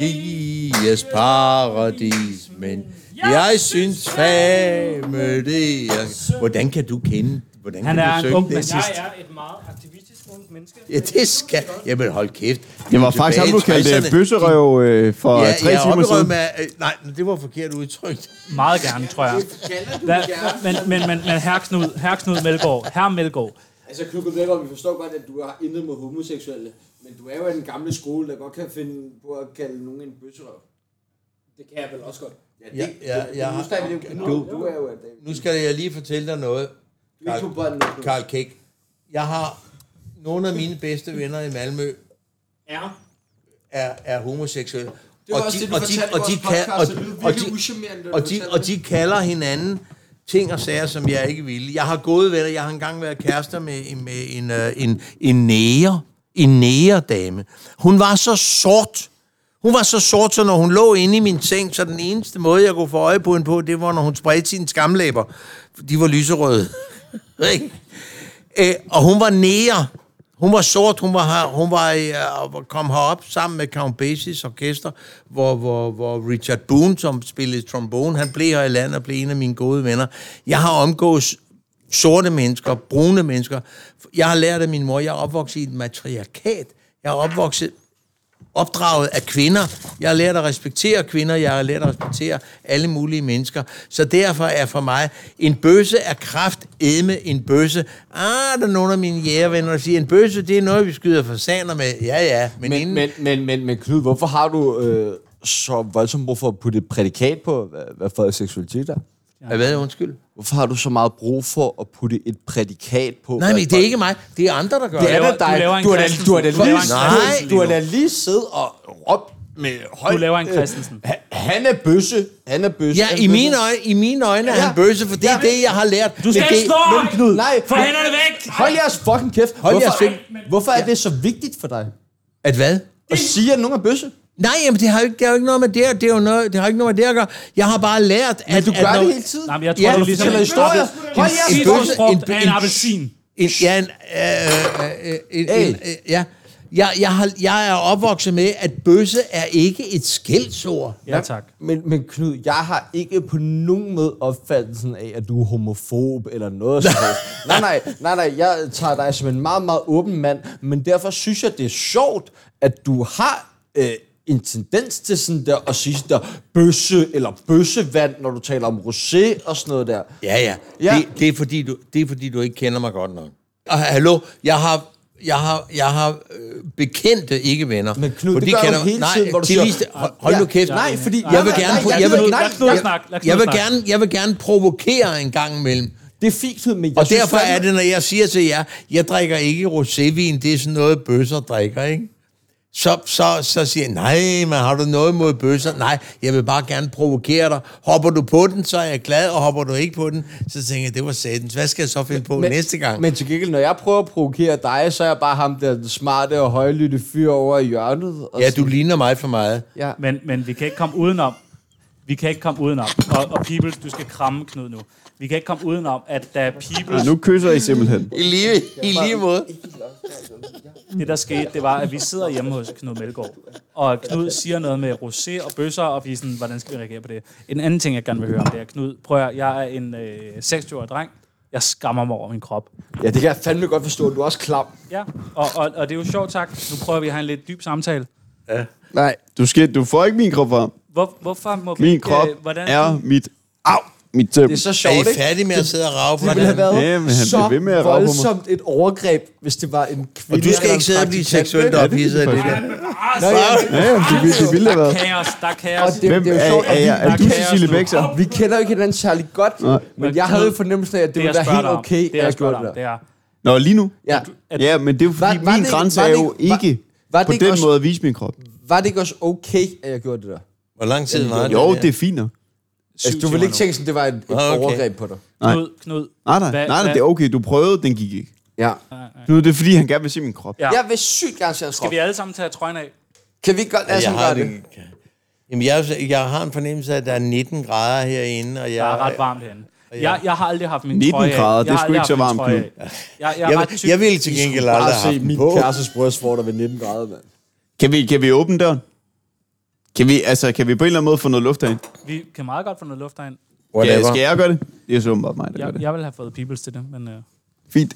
[SPEAKER 4] Det gives paradis, men jeg synes fame det er... Hvordan kan du kende Hvordan
[SPEAKER 2] Han
[SPEAKER 4] kan
[SPEAKER 2] er
[SPEAKER 4] du
[SPEAKER 2] en
[SPEAKER 4] synge
[SPEAKER 2] ung
[SPEAKER 4] det
[SPEAKER 2] mand.
[SPEAKER 4] sidst?
[SPEAKER 2] Jeg
[SPEAKER 9] Jeg er et meget aktivistisk ungt menneske.
[SPEAKER 4] Ja, det skal... Jamen, hold kæft.
[SPEAKER 3] Det var faktisk ham, du kaldte øh, bøsserøv øh, for
[SPEAKER 4] Ja,
[SPEAKER 3] ja, tre
[SPEAKER 4] jeg er
[SPEAKER 3] timer
[SPEAKER 4] oprørt
[SPEAKER 3] siden.
[SPEAKER 4] med... Øh, nej, det var forkert udtrykt.
[SPEAKER 2] Meget gerne, tror jeg. Hva, men, men, men, men herre Knud, herre Knud Melgaard, herre Melgaard,
[SPEAKER 7] Altså, Knuckle Melgaard, vi forstår godt, at du har intet mod homoseksuelle, men du er jo af den gamle skole, der godt kan finde på at kalde nogen en bøsserøv. Det kan jeg vel også godt. Ja, det,
[SPEAKER 4] Ja, ja, ja.
[SPEAKER 7] Nu snakker vi jo
[SPEAKER 4] Du-
[SPEAKER 7] du, du er jo af den.
[SPEAKER 4] Nu skal jeg lige fortælle dig noget,
[SPEAKER 7] Du er ikke på bånden.
[SPEAKER 4] Karl Kæk. Jeg har nogle af mine bedste venner i Malmø
[SPEAKER 9] Ja.
[SPEAKER 4] er, er homoseksuelle.
[SPEAKER 7] Det var også det, du fortalte i vores podcast, så det lyder virkelig ucharmerende, da du
[SPEAKER 4] og, de,
[SPEAKER 7] fortalte
[SPEAKER 4] og de kalder hinanden ting og sager, som jeg ikke ville. Jeg har gode venner. Jeg har engang været kærester med, med en, øh, en, en næger. En nægerdame. Hun var så sort. Hun var så sort, så når hun lå inde i min seng, så den eneste måde, jeg kunne få øje på hende på, det var, når hun spredte sine skamlæber. De var lyserøde. Ikke? Øh, og hun var nære. Hun var sort, hun var, her, hun var i, øh, kom herop sammen med Count Basie's orkester, hvor, hvor, hvor Richard Boone, som spillede trombone, han blev her i landet og blev en af mine gode venner. Jeg har omgået sorte mennesker, brune mennesker. Jeg har lært af min mor, jeg er opvokset i et matriarkat. Jeg er opvokset opdraget af kvinder. Jeg har lært at respektere kvinder, jeg har lært at respektere alle mulige mennesker. Så derfor er for mig, en bøsse er kraft edme en bøsse. Ah, der er nogle af mine jægervenner, der siger, en bøsse, det er noget, vi skyder for saner med. Ja, ja, men, men inden... Men...
[SPEAKER 7] Men, men, men, men Knud, hvorfor har du øh, så voldsomt brug for at putte et prædikat på, hvad, hvad for seksualitet er?
[SPEAKER 4] Hvad, undskyld?
[SPEAKER 7] Hvorfor har du så meget brug for at putte et prædikat på?
[SPEAKER 4] Nej, men det er ikke mig. Det er andre, der gør
[SPEAKER 7] Det
[SPEAKER 4] det.
[SPEAKER 7] er da
[SPEAKER 2] laver- du
[SPEAKER 7] dig.
[SPEAKER 2] laver en
[SPEAKER 7] Du har da-
[SPEAKER 2] Christensen.
[SPEAKER 7] du har da
[SPEAKER 2] Du laver en
[SPEAKER 7] lige-
[SPEAKER 4] Christensen
[SPEAKER 7] du har
[SPEAKER 4] lige
[SPEAKER 7] da lige siddet og råbt med højt.
[SPEAKER 2] du laver en
[SPEAKER 7] øh,
[SPEAKER 2] Christensen.
[SPEAKER 7] "Ha- Han er bøsse. Han er bøsse.
[SPEAKER 4] Ja,
[SPEAKER 7] han er
[SPEAKER 4] i
[SPEAKER 7] bøsse."
[SPEAKER 4] mine øjne, i mine øjne er han bøsse, for det er det, jeg har lært.
[SPEAKER 9] Du skal
[SPEAKER 4] Men
[SPEAKER 9] ikke
[SPEAKER 4] det...
[SPEAKER 9] slå ham!
[SPEAKER 7] Knud, nej.
[SPEAKER 9] Få hænderne væk!
[SPEAKER 7] Hold jeres fucking kæft.
[SPEAKER 4] Hold jeres
[SPEAKER 7] Hvorfor,
[SPEAKER 4] fing-
[SPEAKER 7] hvorfor er det så vigtigt for dig?
[SPEAKER 4] At hvad?
[SPEAKER 7] At sige, at nogen er bøsse?
[SPEAKER 4] Nej, jamen, det har jo ikke, det har jo ikke noget med det, at- det er jo noget, det har ikke noget med det at gøre. Jeg har bare lært, at...
[SPEAKER 7] Men du gør
[SPEAKER 4] at, når-
[SPEAKER 7] det hele tiden.
[SPEAKER 2] Nej, men jeg tror, det er ligesom
[SPEAKER 7] fortæller
[SPEAKER 2] en
[SPEAKER 7] historier. Hold jeres
[SPEAKER 4] en
[SPEAKER 7] fucking
[SPEAKER 4] bøsse-
[SPEAKER 2] frugt
[SPEAKER 4] en-
[SPEAKER 2] af
[SPEAKER 4] en-
[SPEAKER 2] en appelsin.
[SPEAKER 4] En, ja, en, øh, øh, øh, en,
[SPEAKER 7] Hey.
[SPEAKER 4] en, øh, ja. Jeg, jeg, har, jeg er opvokset med, at bøsse er ikke et skældsord.
[SPEAKER 2] Ja, tak.
[SPEAKER 7] Men, men Knud, jeg har ikke på nogen måde opfattelsen af, at du er homofob eller noget sådan nej, nej, nej, nej, jeg tager dig som en meget, meget åben mand, men derfor synes jeg, det er sjovt, at du har øh, en tendens til sådan der at sige sådan der bøsse eller bøssevand, når du taler om rosé og sådan noget der.
[SPEAKER 4] Ja, ja.
[SPEAKER 7] Ja.
[SPEAKER 4] Det, det, er fordi, du, det er fordi, du ikke kender mig godt nok. Og hallo, jeg har, jeg har, jeg har øh, bekendte, ikke venner.
[SPEAKER 7] Men Knud,
[SPEAKER 4] For
[SPEAKER 7] det
[SPEAKER 4] de
[SPEAKER 7] gør du
[SPEAKER 4] kender-
[SPEAKER 7] hele
[SPEAKER 4] nej,
[SPEAKER 7] tiden, hvor du
[SPEAKER 4] de
[SPEAKER 7] siger,
[SPEAKER 4] viste- hold, hold nu
[SPEAKER 7] ja,
[SPEAKER 4] kæft.
[SPEAKER 7] nej, fordi-
[SPEAKER 4] jeg vil
[SPEAKER 7] nej,
[SPEAKER 4] gerne,
[SPEAKER 7] nej,
[SPEAKER 4] pro-
[SPEAKER 7] jeg
[SPEAKER 4] jeg vil,
[SPEAKER 7] gider-
[SPEAKER 4] jeg,
[SPEAKER 7] nej,
[SPEAKER 2] Lad- lad snakke, lad
[SPEAKER 4] vil, jeg vil
[SPEAKER 2] snakke.
[SPEAKER 4] gerne, jeg vil gerne provokere en gang imellem.
[SPEAKER 7] Det er fint, Knud, men jeg
[SPEAKER 4] Og
[SPEAKER 7] synes
[SPEAKER 4] derfor
[SPEAKER 7] fandme-
[SPEAKER 4] er det, når jeg siger til jer, jeg drikker ikke rosévin, det er sådan noget, bøsser drikker, ikke? Så, så, så siger jeg, nej, men har du noget mod bøsser? Nej, jeg vil bare gerne provokere dig. Hopper du på den, så er jeg glad, og hopper du ikke på den, så tænker jeg, det var satans. Hvad skal jeg så finde på men, næste gang? Men,
[SPEAKER 7] Men til gengæld, når jeg prøver at provokere dig, så er jeg bare ham der den smarte og højlytte fyr over i hjørnet. Og
[SPEAKER 4] ja,
[SPEAKER 7] sådan-
[SPEAKER 4] du ligner mig for meget.
[SPEAKER 7] Ja.
[SPEAKER 2] Men, men vi kan ikke komme udenom. Vi kan ikke komme udenom. Og, og Peoples, du skal kramme Knud nu. Vi kan ikke komme udenom, at da Peoples,
[SPEAKER 3] Nu kysser I simpelthen.
[SPEAKER 4] I lige, i lige måde.
[SPEAKER 2] det der skete, det var, at vi sidder hjemme hos Knud Melgaard. Og Knud siger noget med rosé og bøsser, og vi er sådan, hvordan skal vi reagere på det? En anden ting, jeg gerne vil høre om, det er, Knud, prøv at, jeg er en øh, 26-årig dreng. Jeg skammer mig over min krop.
[SPEAKER 7] ja, det kan jeg fandme godt forstå. Du er også klam.
[SPEAKER 2] Ja, og, og, og det er jo sjovt, tak. Nu prøver vi at have en lidt dyb samtale.
[SPEAKER 3] Nej. Du, skal, du får ikke min krop frem.
[SPEAKER 2] Hvor, hvorfor må vi
[SPEAKER 3] Min
[SPEAKER 2] ikke...
[SPEAKER 3] krop
[SPEAKER 2] øh, hvordan,
[SPEAKER 3] er mit... Au! Mit tøm.
[SPEAKER 7] Det er så
[SPEAKER 4] Er
[SPEAKER 7] sjovt,
[SPEAKER 4] I
[SPEAKER 7] ikke?
[SPEAKER 4] færdige med at sidde og rave på
[SPEAKER 7] Det ville have
[SPEAKER 4] den?
[SPEAKER 7] været
[SPEAKER 3] Jamen, han
[SPEAKER 7] så
[SPEAKER 3] blev ved med at rage på mig.
[SPEAKER 7] voldsomt et overgreb, hvis det var en kvinde.
[SPEAKER 4] Og du skal
[SPEAKER 7] eller
[SPEAKER 4] ikke sidde og
[SPEAKER 7] en
[SPEAKER 4] blive
[SPEAKER 7] praktikant.
[SPEAKER 4] seksuelt ophidset af det der.
[SPEAKER 2] Ah,
[SPEAKER 3] Ja, jamen, det, ville- det ville have været...
[SPEAKER 2] Kaos, der er
[SPEAKER 7] Og
[SPEAKER 2] kaos.
[SPEAKER 7] det,
[SPEAKER 3] Hvem
[SPEAKER 7] det er jo
[SPEAKER 3] er,
[SPEAKER 7] sjovt,
[SPEAKER 3] er, er, er
[SPEAKER 2] er
[SPEAKER 3] du
[SPEAKER 2] kaos
[SPEAKER 3] Cecilie
[SPEAKER 2] nu.
[SPEAKER 3] Bexer?
[SPEAKER 7] og vi kender jo ikke hinanden særlig godt,
[SPEAKER 3] Nej.
[SPEAKER 7] men jeg havde jo fornemmelsen af, at det
[SPEAKER 2] Det, jeg
[SPEAKER 7] ville være
[SPEAKER 2] spørger
[SPEAKER 7] helt
[SPEAKER 2] dig om,
[SPEAKER 7] okay,
[SPEAKER 2] det, jeg
[SPEAKER 7] at
[SPEAKER 2] spørger
[SPEAKER 7] gjorde
[SPEAKER 2] dig om,
[SPEAKER 7] det.
[SPEAKER 2] det er,
[SPEAKER 3] Nå, lige nu?
[SPEAKER 7] Ja.
[SPEAKER 2] at-
[SPEAKER 3] Ja, men det er jo fordi,
[SPEAKER 7] Var- var
[SPEAKER 3] min
[SPEAKER 7] det-
[SPEAKER 3] grænse
[SPEAKER 7] var
[SPEAKER 3] er
[SPEAKER 7] det-
[SPEAKER 3] jo
[SPEAKER 7] var-
[SPEAKER 3] ikke
[SPEAKER 7] var det
[SPEAKER 3] på
[SPEAKER 7] ikke
[SPEAKER 3] den
[SPEAKER 7] også-
[SPEAKER 3] måde at vise min krop.
[SPEAKER 7] Var det ikke også okay, at jeg gjorde det der?
[SPEAKER 4] Hvor lang tid var det?
[SPEAKER 3] Jo,
[SPEAKER 4] der?
[SPEAKER 3] det er fint nok.
[SPEAKER 7] Altså, du ville ikke tænke sådan, det var et, et
[SPEAKER 4] okay.
[SPEAKER 7] overgreb på dig.
[SPEAKER 3] Nej.
[SPEAKER 2] Knud, Knud.
[SPEAKER 3] Nej, nej,
[SPEAKER 2] Hvad-
[SPEAKER 3] nej, nej,
[SPEAKER 2] hvad-
[SPEAKER 3] det er okay. Du prøvede, den gik ikke.
[SPEAKER 7] Ja.
[SPEAKER 3] Nu er det, fordi han gerne vil se min krop.
[SPEAKER 2] Ja.
[SPEAKER 7] Jeg vil sygt gerne se hans
[SPEAKER 2] Skal
[SPEAKER 7] krop.
[SPEAKER 2] vi alle sammen tage trøjen af?
[SPEAKER 7] Kan vi ikke godt lade
[SPEAKER 4] jeg
[SPEAKER 7] sådan
[SPEAKER 4] har
[SPEAKER 7] gøre det?
[SPEAKER 4] det. Jamen, jeg, er jo så- jeg har en fornemmelse af, at der er 19 grader herinde, og jeg...
[SPEAKER 2] Der er ret varmt herinde. Jeg, jeg har aldrig haft min
[SPEAKER 3] 19
[SPEAKER 2] trøje af.
[SPEAKER 3] grader, det er
[SPEAKER 2] Jeg har
[SPEAKER 3] sgu
[SPEAKER 2] aldrig
[SPEAKER 3] ikke så
[SPEAKER 2] haft min
[SPEAKER 3] varmt,
[SPEAKER 2] trøje af. Jeg, jeg, er
[SPEAKER 4] Jeg,
[SPEAKER 2] ret tyk.
[SPEAKER 4] jeg ville til gengæld aldrig have haft den på.
[SPEAKER 7] kærestes bryst, hvor der ved 19 grader, mand.
[SPEAKER 3] Kan vi, kan vi åbne døren? Kan vi, altså, kan vi på en eller anden måde få noget luft herind?
[SPEAKER 2] Vi kan meget godt få noget luft derind.
[SPEAKER 3] Skal, skal jeg gøre det? Det er så åbenbart mig, der gør
[SPEAKER 2] Jeg,
[SPEAKER 3] det.
[SPEAKER 2] jeg ville have fået peoples til det, men... Øh,
[SPEAKER 3] Fint.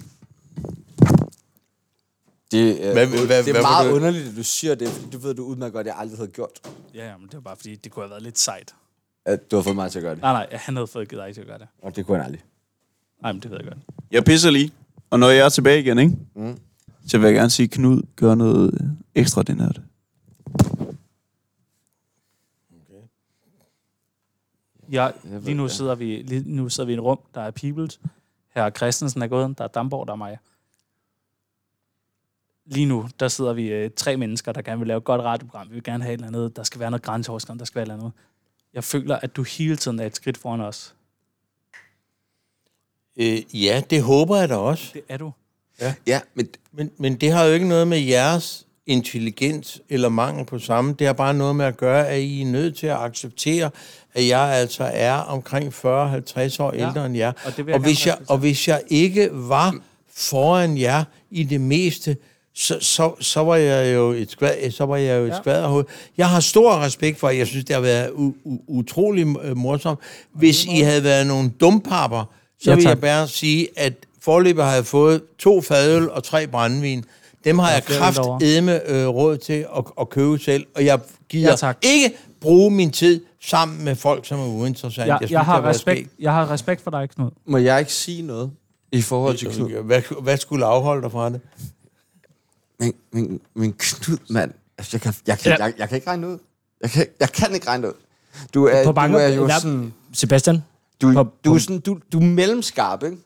[SPEAKER 7] Det, øh,
[SPEAKER 4] Hvad-
[SPEAKER 7] det
[SPEAKER 4] hvad-
[SPEAKER 7] er
[SPEAKER 4] hvad
[SPEAKER 7] meget
[SPEAKER 4] var det?
[SPEAKER 7] underligt, at du siger det, fordi det ved du udmærket godt, at jeg aldrig havde gjort.
[SPEAKER 2] Ja, ja, men det var bare fordi, det kunne have været lidt sejt.
[SPEAKER 7] At du har fået mig til at gøre det.
[SPEAKER 2] Nej, nej, han havde fået givet dig til at gøre det.
[SPEAKER 7] Og det kunne han aldrig.
[SPEAKER 2] Nej, men det ved jeg godt.
[SPEAKER 3] Jeg pisser lige. Og når jeg er tilbage igen, ikke? Mm. Så vil jeg gerne sige, Knud, gør noget øh, ekstraordinært.
[SPEAKER 2] Ja, lige nu sidder vi, lige nu sidder vi i et rum, der er peoplet. Her Christensen er gået, der er Damborg, der er mig. Lige nu, der sidder vi øh, tre mennesker, der gerne vil lave et godt radioprogram. Vi vil gerne have et eller andet. Der skal være noget grænseoverskridende, der skal være et eller andet. Jeg føler, at du hele tiden er et skridt foran os.
[SPEAKER 4] Øh, ja, det håber jeg da også.
[SPEAKER 2] Det er du.
[SPEAKER 4] Ja,
[SPEAKER 7] ja men...
[SPEAKER 4] men... Men det har jo ikke noget med jeres intelligens eller mangel på samme. Det har bare noget med at gøre, at I er nødt til at acceptere, at jeg altså er omkring 40-50 år
[SPEAKER 2] Ja,
[SPEAKER 4] ja. ældre end jer.
[SPEAKER 2] og det vil jeg
[SPEAKER 4] og,
[SPEAKER 2] gerne
[SPEAKER 4] hvis jeg, og hvis jeg ikke var foran jer i det meste, så, så, så var jeg jo et, skvad, så var jeg jo et
[SPEAKER 11] Ja.
[SPEAKER 4] ja. skvaderhoved. Jeg har stor respekt for, at jeg synes, det har været u, u, utrolig øh, morsomt. Hvis I havde været nogle dumpapper,
[SPEAKER 2] Ja,
[SPEAKER 4] så ja, vil
[SPEAKER 2] tak.
[SPEAKER 4] jeg bare sige, at forløbet har jeg fået to fadøl og tre brændvin. Dem har
[SPEAKER 2] Der er
[SPEAKER 4] jeg
[SPEAKER 2] flere øl
[SPEAKER 4] kraftedme øh, råd til at, at købe selv, og jeg gider
[SPEAKER 2] Ja,
[SPEAKER 4] ja,
[SPEAKER 2] tak.
[SPEAKER 4] ikke bruge min tid sammen med folk, som er uinteressante.
[SPEAKER 2] Jeg, jeg, har
[SPEAKER 4] det har været
[SPEAKER 2] respekt, jeg har respekt for dig, Knud.
[SPEAKER 7] Må jeg ikke sige noget i forhold til Knud?
[SPEAKER 4] Hvad, hvad skulle afholde dig fra det?
[SPEAKER 7] Men, men, men Knud, mand. Altså, jeg, kan, jeg, kan,
[SPEAKER 9] Ja.
[SPEAKER 7] jeg, jeg kan ikke regne det ud. Jeg kan, jeg kan ikke regne det ud. Du er,
[SPEAKER 9] På
[SPEAKER 7] du
[SPEAKER 9] banker-
[SPEAKER 7] er jo
[SPEAKER 9] eller-
[SPEAKER 7] sådan...
[SPEAKER 9] Sebastian?
[SPEAKER 7] Du,
[SPEAKER 9] på,
[SPEAKER 7] du, er sådan, du, du er mellemskarp, ikke?